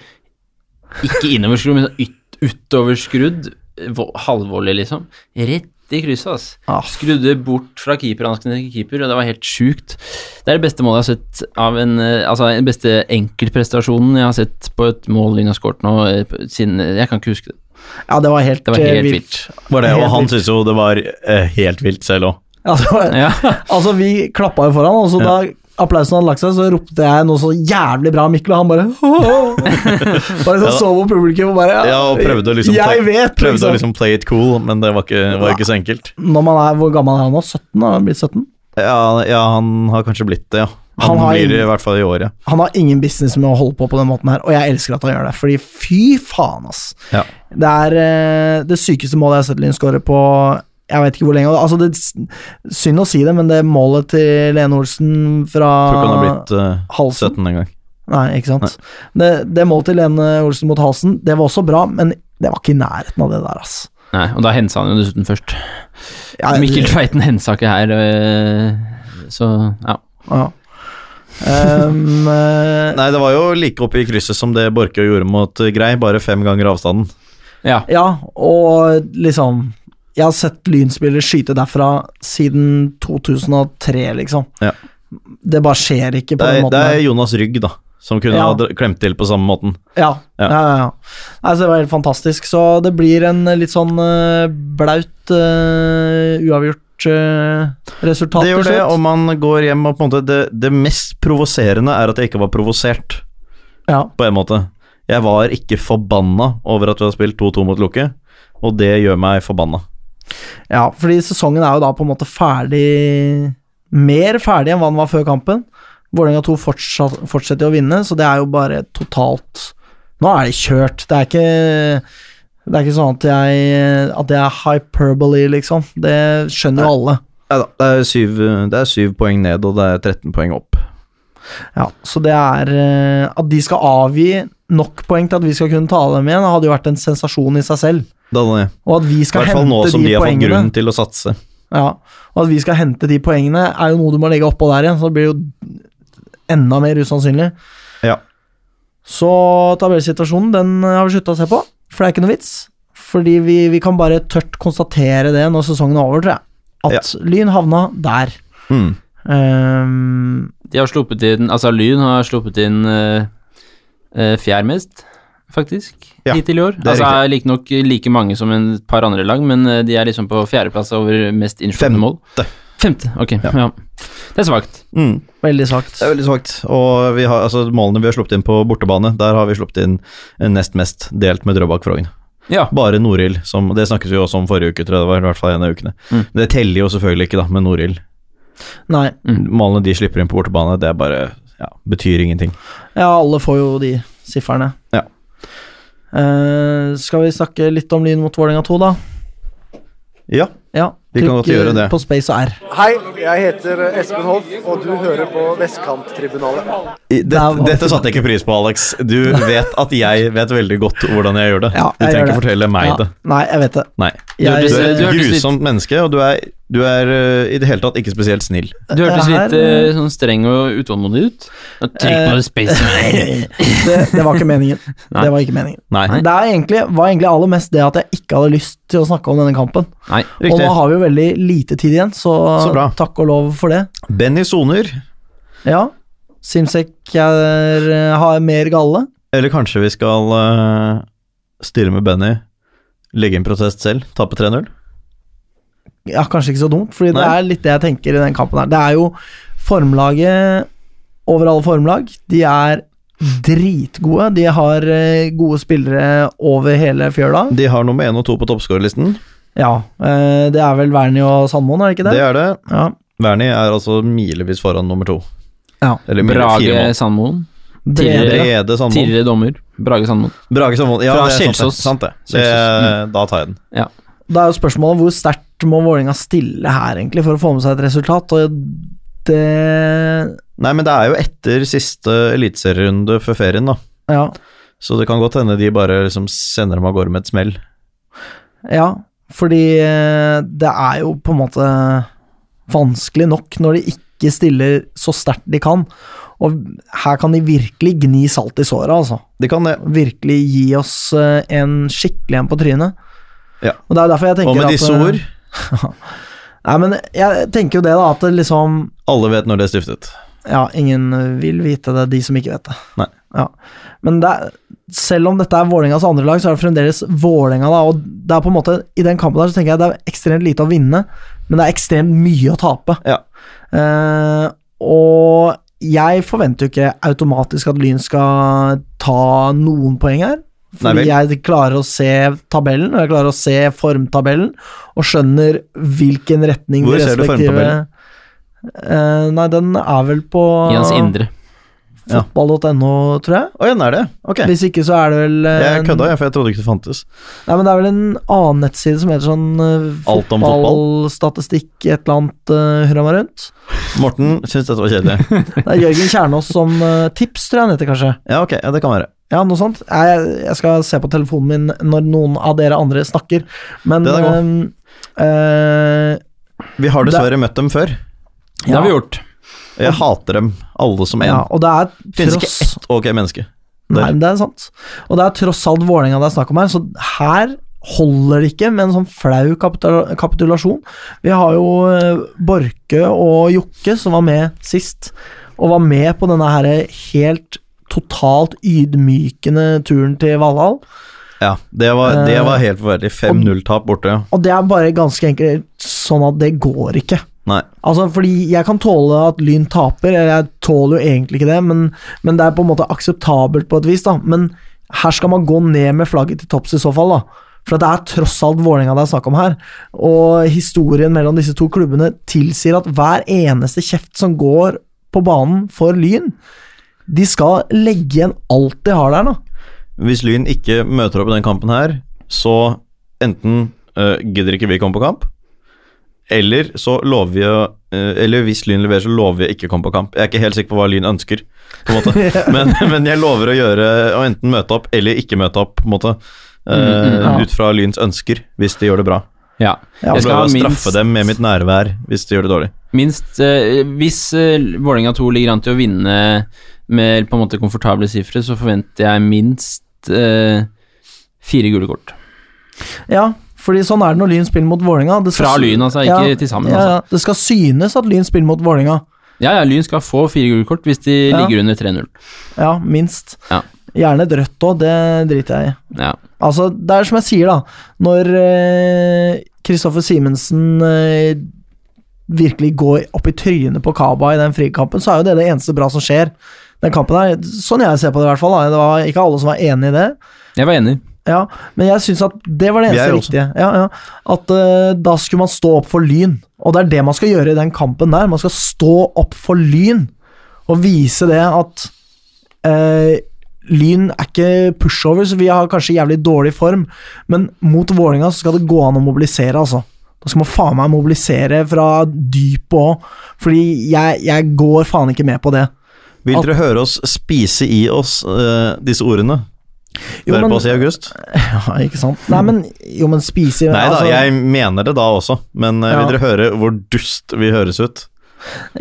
C: Ikke innoverskrudd, men sånn yt, utoverskrudd, vo- halvvolley, liksom. Rett i krysset, ass.
A: Ah,
C: Skrudde bort fra keeperhanskene til keeper, og det var helt sjukt. Det er det beste målet jeg har sett av en eh, Altså, den beste enkeltprestasjonen jeg har sett på et mål Lyn har skåret nå eh, på- siden eh, Jeg kan ikke huske det.
A: ja, det var helt,
C: Det var
A: eh,
C: helt
A: vilt.
C: vilt.
B: Var det,
A: Helt
B: og han
A: vilt.
B: syntes jo det var eh, helt vilt selv òg.
A: Ja, det var,
C: Ja.
A: Altså, vi klappa jo foran, og så da applausen hadde lagt seg, så ropte jeg noe så jævlig bra, Mikkel, og han bare «Åh!» Bare så
B: Ja da.
A: så på publikum og bare
B: Ja, og prøvde å liksom ta-
A: Jeg vet,
B: Prøvde å
A: liksom.
B: liksom play it cool, men det var ikke, var ikke så enkelt.
A: Når man er, Hvor gammel er han nå? 17? Har han blitt 17?
B: Ja, ja, han har kanskje blitt det, ja.
A: Han
B: Han,
A: har
B: blir det
A: ingen-
B: i hvert fall i år, ja.
A: Han har ingen business med å holde på på den måten her, og jeg elsker at han gjør det, fordi fy faen, ass.
B: Ja.
A: Det er eh, det sykeste målet jeg har sett Lyn skåre på jeg vet ikke hvor lenge. og Altså, det, synd å si det, men det målet til Lene Olsen fra
B: Tror ikke
A: Ah.
B: han har blitt eh,
A: halsen
B: 17 en gang.
A: Nei, ikke sant. Det, det målet til Lene Olsen mot halsen, det var også bra, men det var ikke i nærheten av det der, ass.
C: Nei, og da hensa han jo dessuten først.
A: Ja,
C: Mikkel Tveiten hensa ikke her, eh, så ja.
A: Ja. Um, eh,
B: Nei, det var jo like oppe i krysset som det Borchø gjorde mot eh, Grei, bare fem ganger avstanden.
C: ja.
A: ja, og liksom Jeg har sett lynspillere skyte derfra siden 2003, liksom.
B: Ja.
A: Det bare skjer ikke på
B: Det
A: den
B: er,
A: måten.
B: det
A: her.
B: er Jonas Rygg, da. som kunne
A: Ja.
B: ha dr- klemt til på samme måten.
A: Ja. ja.
B: Ja.
A: ja, ja. Nei, så det var helt fantastisk. Så det blir en litt sånn eh, blaut, eh, uavgjort eh, resultat
B: Det
A: til
B: gjør det, og
A: slutt.
B: man går hjem og på en måte Det, det mest provoserende er at jeg ikke var provosert,
A: Ja.
B: på en måte. Jeg var ikke forbanna over at vi har spilt 2-2 mot Lukke, og det gjør meg forbanna.
A: ja, fordi sesongen er jo da på en måte ferdig Mer ferdig enn hva den var før kampen. Vålerenga 2 fortsatt, fortsetter å vinne, så det er jo bare totalt Nå er det kjørt. Det er ikke det er ikke sånn at jeg At det er hyperbole, liksom. Det skjønner jo alle.
B: Ja da, det er syv, det er syv poeng ned, og det er 13 poeng opp.
A: Ja, så det er eh, At de skal avgi nok poeng til at vi skal kunne ta dem igjen, hadde jo vært en sensasjon i seg selv.
B: Da, da,
A: Og at vi
B: I
A: skal
B: hvert fall
A: hente
B: nå som
A: de,
B: de har fått
A: poengene
B: grunn til å satse.
A: ja, Og at vi skal hente de poengene, er jo noe du må legge oppå der igjen, så det blir jo enda mer usannsynlig.
B: Ja.
A: Så tabellsituasjonen, den har vi slutta å se på, for det er ikke noe vits. Fordi vi, vi kan bare tørt konstatere det når sesongen er over, tror jeg. At Lyn havna der.
B: Mm.
A: Ehm,
C: De har sluppet inn Altså, Lyn har sluppet inn eh, eh, fjær mest, faktisk,
B: Ja,
C: hittil i år.
B: er
C: altså er like nok like mange som en- et par andre lag, men eh, de er liksom på fjerdeplass over mest innslupne mål.
B: Femte.
C: Femte, ok. Ja. Det er svakt.
B: Mm.
A: veldig svakt.
B: Det er veldig svakt. Og vi har, altså, målene vi har sluppet inn på bortebane, der har vi sluppet inn eh, nest mest, delt med Drøbak Frogn.
C: Ja.
B: Bare Norild, som Det snakket vi jo også om forrige uke, tror jeg det var. I hvert fall en av ukene.
C: Mm.
B: Det teller jo selvfølgelig ikke, da, med Norild.
A: Nei.
B: Målene de slipper inn på bortebane, det er bare ja, betyr ingenting.
A: Ja, alle får jo de sifferne.
B: Ja.
A: Eh, skal vi snakke litt om Lyn mot Vålerenga 2, da?
B: Ja,
A: Ja.
B: Vi kan godt
A: trykk,
B: gjøre det.
A: eh, På space og R.
F: Hei, jeg heter Espen Hoff, og du hører på Vestkanttribunalet.
B: i-
A: Der var
B: dette, dette satte jeg ikke pris på, Alex. Du vet at jeg vet veldig godt hvordan jeg gjør det.
A: Ja,
B: du
A: jeg
B: trenger
A: gjør
B: ikke fortelle meg
A: Ja.
B: det.
A: Nei, jeg vet det.
B: Nei.
A: Jeg-
B: Du er et
C: Du hørtes litt-
B: grusomt menneske, og du er, du er eh, i det hele tatt ikke spesielt snill.
C: Du hørtes
A: Det her,
C: litt eh, sånn streng og utålmodig ut. Nå Trykk
A: Eh,
C: på space.
A: det, det var ikke meningen.
C: Nei.
A: Det var ikke meningen.
B: Nei.
A: Det er egentlig, var egentlig aller mest det at jeg ikke hadde lyst til å snakke om denne kampen.
C: Nei.
A: Og nå
B: Riktig.
A: har vi jo veldig lite tid igjen, så,
B: Så bra.
A: takk og lov for det.
B: Benny soner,
A: Ja. Simsek er, eh, har mer galle.
B: eller kanskje vi skal eh, styre med Benny, legge inn protest selv, tape 3-0?
A: Ja, kanskje ikke så dumt, fordi det
B: Nei.
A: er litt det jeg tenker i den kampen her. Det er jo formlaget over alle formlag. De er dritgode. De har eh, gode spillere over hele fjøla.
B: De har nummer én og to på toppskårerlisten.
A: Ja, eh, det er vel Wernie og Sandmoen, er det ikke
B: Det
A: det?
B: er det.
A: Ja.
B: Wernie er altså milevis foran nummer to.
A: Ja.
B: Eller milevis fire mål.
C: Brage Sandmoen.
A: Brede.
B: Brede Sandvold.
C: Tidligere dommer. Brage Sandmoen.
B: Brage Sandvold. Ja,
C: Fra
B: det er sant det.
C: Kjelsås.
B: Sant det. det
C: Kjelsås,
B: da tar jeg den.
A: Da er jo spørsmålet hvor sterkt må Vålerenga stille her, egentlig, for å få med seg et resultat. Og det
B: Nei, men det er jo etter siste eliteserierunde før ferien, da.
A: Ja.
B: Så det kan godt hende de bare liksom sender dem av gårde med et smell.
A: ja fordi eh, det er jo på en måte vanskelig nok når de ikke stiller så sterkt de kan. Og her kan de virkelig gni salt i såret, altså.
B: De kan det.
A: Virkelig gi oss eh, en skikkelig en på trynet.
B: Ja.
A: Og det er jo derfor jeg tenker
B: Og med
A: at,
B: disse
A: eh,
B: ord,
A: Nei, men jeg tenker jo det, da, at det liksom
B: alle vet når det er stiftet.
A: Ja, ingen vil vite det, de som ikke vet det.
B: Nei.
A: Ja. Men det er, selv om dette er Vålerengas andre lag, så er det fremdeles Vålerenga, da. Og det er på en måte, i den kampen der så tenker jeg det er ekstremt lite å vinne, men det er ekstremt mye å tape.
B: Ja.
A: Eh, og jeg forventer jo ikke automatisk at Lyn skal ta noen poeng her.
B: Nei
A: Fordi
B: vel.
A: jeg klarer å se tabellen, og jeg klarer å se formtabellen, og skjønner hvilken retning
B: Hvor
A: de
B: ser du formtabellen?
A: Eh, nei, den er vel på
C: I hans indre.
A: fotball.no, tror jeg.
B: Å ja, den er det? Ok.
A: Hvis ikke så er det vel eh,
B: Jeg kødda, jeg, for jeg trodde ikke det fantes.
A: Nei, men det er vel en annen nettside som heter sånn eh,
B: Alt om
A: fotballstatistikk, et eller annet eh, hurra meg rundt.
B: Morten syns dette var kjedelig.
A: Det er Jørgen Kjernås som eh, tips, tror jeg han heter, kanskje.
B: Ja, ok, ja, det kan være.
A: Ja, noe sånt. Jeg, jeg skal se på telefonen min når noen av dere andre snakker, men
B: Den er
A: eh, eh,
B: Vi har dessverre møtt dem før.
C: Det har vi gjort.
B: Jeg hater dem, alle som
A: eh, ja,
B: en.
A: og det er
B: Finnes ikke
A: tross
B: ett ok menneske.
A: Nei,
B: Der.
A: men det er sant. Og det er tross alt Vålerenga det er snakk om her, så her holder det ikke med en sånn flau kapitul kapitulasjon. Vi har jo eh, Borke og Jokke som var med sist, og var med på denne her helt totalt ydmykende turen til Valhall.
B: Ja, det var, det var helt forferdelig. 5-0-tap borte.
A: Og det er bare ganske enkelt sånn at det går ikke.
B: Nei.
A: Altså, fordi jeg kan tåle at Lyn taper, eller jeg tåler jo egentlig ikke det, men, men det er på en måte akseptabelt på et vis, da. Men her skal man gå ned med flagget til topps i så fall, da. For det er tross alt Vålerenga det er snakk om her. Og historien mellom disse to klubbene tilsier at hver eneste kjeft som går på banen for Lyn, de skal legge igjen alt de har der, da.
B: Hvis Lyn ikke møter opp i den kampen her, så enten eh, gidder ikke vi komme på kamp, eller så lover vi å eh, Eller hvis Lyn leverer, så lover vi å ikke komme på kamp. Jeg er ikke helt sikker på hva Lyn ønsker, på en måte. men, men jeg lover å gjøre å enten møte opp eller ikke møte opp, på en måte. Eh,
A: ja.
B: Ut fra Lyns ønsker, hvis de gjør det bra.
C: Ja.
A: Ja,
B: Jeg
C: Jeg skal ha
B: prøver å
C: minst,
B: straffe dem med mitt nærvær hvis de gjør det dårlig.
C: minst eh, Hvis eh, Vålerenga 2 ligger an til å vinne med på en måte komfortable sifre, så forventer jeg minst eh, fire gule kort.
A: Ja, fordi sånn er det når Lyn spiller mot Vålerenga. Det skal
C: Fra
A: sy-
C: Lyn, altså, ikke til sammen,
A: Ja, ja. Det skal synes at Lyn spiller mot Vålerenga.
C: Ja, ja, Lyn skal få fire gule kort hvis de
A: Ja.
C: ligger under 3-0.
A: Ja, minst.
C: Ja.
A: Gjerne et rødt òg, det driter jeg i.
C: Ja.
A: Altså, det er som jeg sier, da. Når eh, Kristoffer Simensen eh, virkelig går opp i trynet på Kaba i den frikampen, så er jo det det eneste bra som skjer. Den kampen her, Sånn jeg ser på det, i hvert fall. Da. Det var ikke alle som var enig i det.
C: Jeg var enig.
A: Ja, Men jeg syns at det var det
B: Vi
A: eneste
B: er jo også.
A: riktige. Ja, ja. At eh, da skulle man stå opp for Lyn. Og det er det man skal gjøre i den kampen der. Man skal stå opp for Lyn og vise det at eh, Lyn er ikke pushover, så vi har kanskje jævlig dårlig form, men mot Vålinga så skal det gå an å mobilisere, altså. Da skal man faen meg mobilisere fra dypet òg, fordi jeg, jeg går faen ikke med på det.
B: Vil
A: Alt-
B: dere høre oss spise i oss eh, disse ordene?
A: Jo,
B: Dere
A: men-
B: på oss i august?
A: Ja, ikke sant? Nei, men jo, men spise
B: Nei da,
A: altså-
B: jeg mener det da også, men eh,
A: Ja.
B: vil dere høre hvor dust vi høres ut?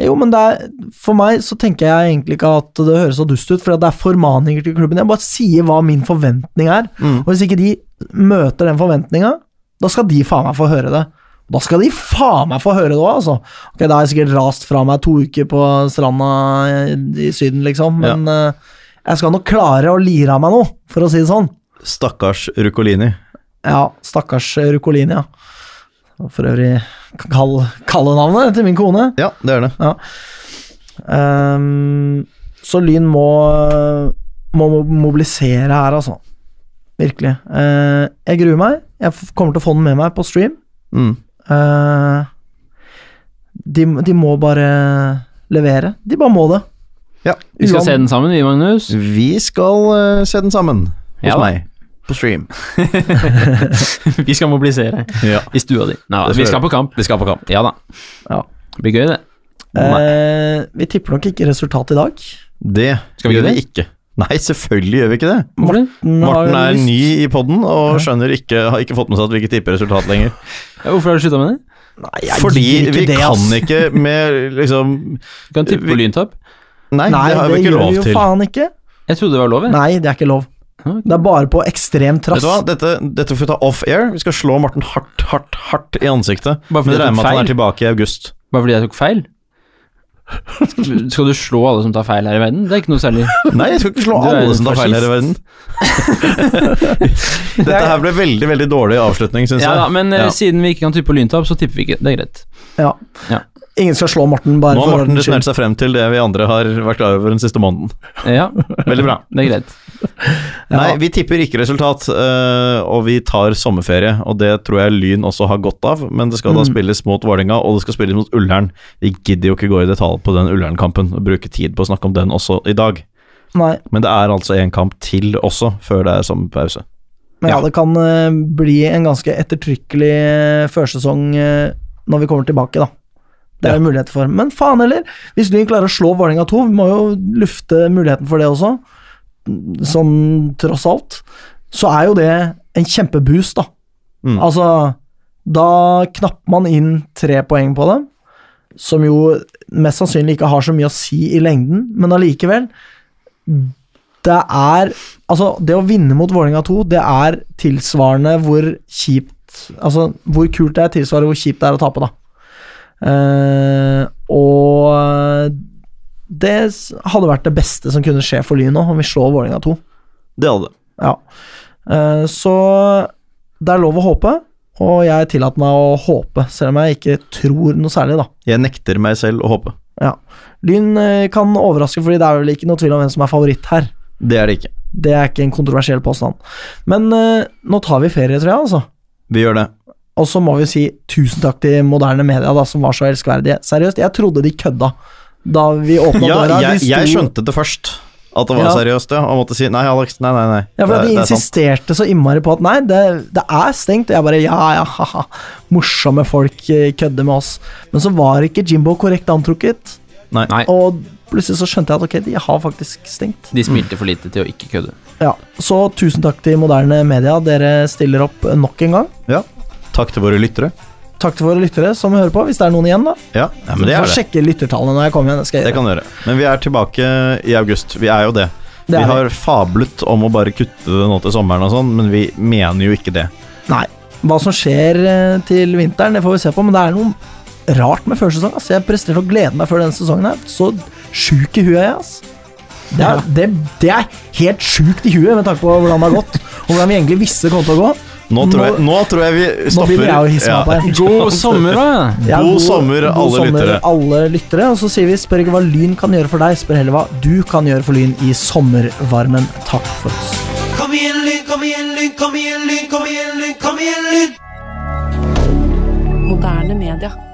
A: Jo, men det er, for meg så tenker jeg egentlig ikke at det høres så dust ut, for det er formaninger til klubben. Jeg bare sier hva min forventning er. Og hvis ikke de møter den forventninga, da skal de faen meg få høre det. Da skal de faen meg få høre det òg, altså. Ok, da har jeg sikkert rast fra meg to uker på stranda i Syden, liksom, men eh, jeg skal nok klare å lire av meg noe, for å si det sånn.
B: Stakkars Rukolini.
A: Ja, stakkars Rukolini, ja. For øvrig kall, kallenavnet til min kone.
B: Ja, det er det.
A: Ehm, så Lyn må, må mo- mobilisere her, altså. Virkelig. Eh, jeg gruer meg. Jeg f- kommer til å få den med meg på stream.
B: Mm.
A: Eh, de, de må bare levere. De bare må det.
B: Ja.
C: Vi skal
A: Uan-
C: se den sammen, vi, Magnus.
B: Vi skal eh, se den sammen hos
C: Ja da.
B: meg. På stream.
C: vi skal mobilisere
B: Ja.
C: i stua di. Nei,
B: Det skal
C: vi skal
B: vi.
C: på kamp. Vi skal på kamp. Ja da.
A: Ja.
C: Det blir gøy, det.
A: Eh, vi tipper nok ikke resultat i dag.
B: Det
C: Skal vi
B: gjør
C: gjøre
B: vi ikke. Nei, selvfølgelig gjør vi ikke det.
C: Hvorfor det?
A: Den har
B: Morten
A: jo
B: er
A: lyst-
B: ny i poden og skjønner ikke, har ikke fått med seg at vi ikke tipper resultat lenger.
C: Ja, Hvorfor har du slutta med det?
A: Nei, jeg
B: Fordi
A: gidder
B: vi
A: ikke det,
B: kan
A: ass.
B: ikke med liksom
C: Du kan tippe
B: Vi-
C: på lyntap.
B: Nei,
A: Nei,
B: det har vi ikke
A: gjør
B: lov
A: vi jo
B: til.
A: faen ikke.
C: Jeg trodde det var lov, jeg.
A: Nei, det er ikke lov.
C: Ok.
A: Det er bare på ekstrem trass.
B: Vet du hva, dette, dette får vi ta off air. Vi skal slå Morten hardt, hardt, hardt i ansiktet.
C: Bare fordi
B: Men
C: jeg
B: regner
C: tok
B: med at han
C: feil.
B: er tilbake i august.
C: Bare fordi jeg tok feil? Skal du slå alle som tar feil her i verden? Det er ikke noe særlig.
B: Nei, jeg skal ikke slå
C: Du er
B: alle
C: en
B: som tar feil her i verden. Dette her ble veldig, veldig dårlig avslutning, syns
C: Ja da,
B: jeg.
C: Men eh,
B: Ja.
C: siden vi ikke kan tippe på lyntap, så tipper vi ikke. Det er greit.
A: Ja.
C: Ja.
A: Ingen skal slå Morten, bare
B: Nå har
A: for
B: Morten
A: ordens skyld.
B: resonnert seg frem til det vi andre har vært klar over den siste måneden.
C: Eh, Ja,
B: Veldig bra.
C: det er greit.
B: Nei, vi tipper ikke resultat, øh, og vi tar sommerferie. Og det tror jeg Lyn også har godt av, men det skal
C: Mm.
B: da spilles mot Vålerenga, og det skal spilles mot Ullern. Vi gidder jo ikke gå i detalj på den Ullern-kampen og bruke tid på å snakke om den også i dag.
A: Nei,
B: Men det er altså en kamp til også, før det er sommerpause.
A: men ja,
B: Ja.
A: det kan eh, bli en ganske ettertrykkelig eh, førsesong eh, når vi kommer tilbake, da. Det er jo muligheter for. Men faen heller, hvis Lyn klarer å slå Vålerenga 2, vi må jo lufte muligheten for det også, sånn tross alt, så er jo det en kjempeboost, da.
B: Mm.
A: Altså, da knapper man inn tre poeng på dem, som jo mest sannsynlig ikke har så mye å si i lengden, men allikevel det er Altså, det å vinne mot Vålerenga 2, det er tilsvarende hvor kjipt Altså, hvor kult det er, tilsvarende hvor kjipt det er å tape, da. Eh, og Det s- hadde vært det beste som kunne skje for Lyn nå, om vi slår Vålerenga 2.
B: Det hadde det.
A: Ja. Eh, Så det er lov å håpe, og jeg tillater meg å håpe, selv om jeg ikke tror noe særlig, da.
B: Jeg nekter meg selv å håpe.
A: Ja. Lyn eh, kan overraske, fordi det er vel ikke noe tvil om hvem som er favoritt her.
B: Det er det ikke.
A: Det er ikke en kontroversiell påstand. Men eh, nå tar vi ferie, tror jeg, altså.
B: Vi gjør det.
A: Og så må vi si tusen takk til moderne media, da, som var så elskverdige. Seriøst, jeg trodde de kødda da vi åpna
B: Ja,
A: døra.
B: jeg,
A: de sto-
B: jeg skjønte det først. At det var
A: Ja.
B: seriøst, ja. Og måtte si nei, Alex. Nei, nei, nei.
A: Ja, for
B: det,
A: De
B: det er sant.
A: insisterte så innmari på at nei, det, det er stengt. Og jeg bare ja, ja, haha. Morsomme folk eh, kødder med oss. Men så var ikke Jimbo korrekt antrukket,
B: Nei.
C: Nei.
A: og plutselig så skjønte jeg at ok, de har faktisk stengt.
C: De smilte for lite til å ikke kødde.
A: Ja, Så tusen takk til moderne media. Dere stiller opp nok en gang.
B: Ja. Takk til våre lyttere.
A: Takk til våre lyttere som hører på, hvis det er noen igjen, da.
B: Ja, ja men det
A: Får
B: er det.
A: sjekke lyttertallene når jeg kommer igjen. Det skal jeg
B: Det
A: gjøre.
B: kan du gjøre. Men vi er tilbake i august. Vi er jo det.
A: Det er
B: vi har fablet om å bare kutte det nå til sommeren og sånn, men vi mener jo ikke det.
A: Nei. Hva som skjer eh, til vinteren, det får vi se på, men det er noe rart med førsesong. ass. Jeg presterte å glede meg før denne sesongen her. Så sjuk i huet er jeg, ass. Det er, det, det er helt sjukt i huet med tanke på hvordan det har gått, og hvordan vi egentlig visste det kom til å gå.
B: Nå tror, jeg,
A: Nå-
B: nå tror jeg vi
A: Nå
B: stopper.
A: begynner jeg å hisse meg opp her.
C: God sommer, da!
A: Ja,
B: God sommer, alle lyttere.
A: alle lyttere. Og så sier vi spør ikke hva Lyn kan gjøre for deg, spør heller hva du kan gjøre for Lyn i sommervarmen. Takk for oss.
G: Kom igjen, Lyn, kom igjen, Lyn, kom igjen, Lyn, kom igjen, Lyn, kom igjen, Lyn!
H: Moderne media.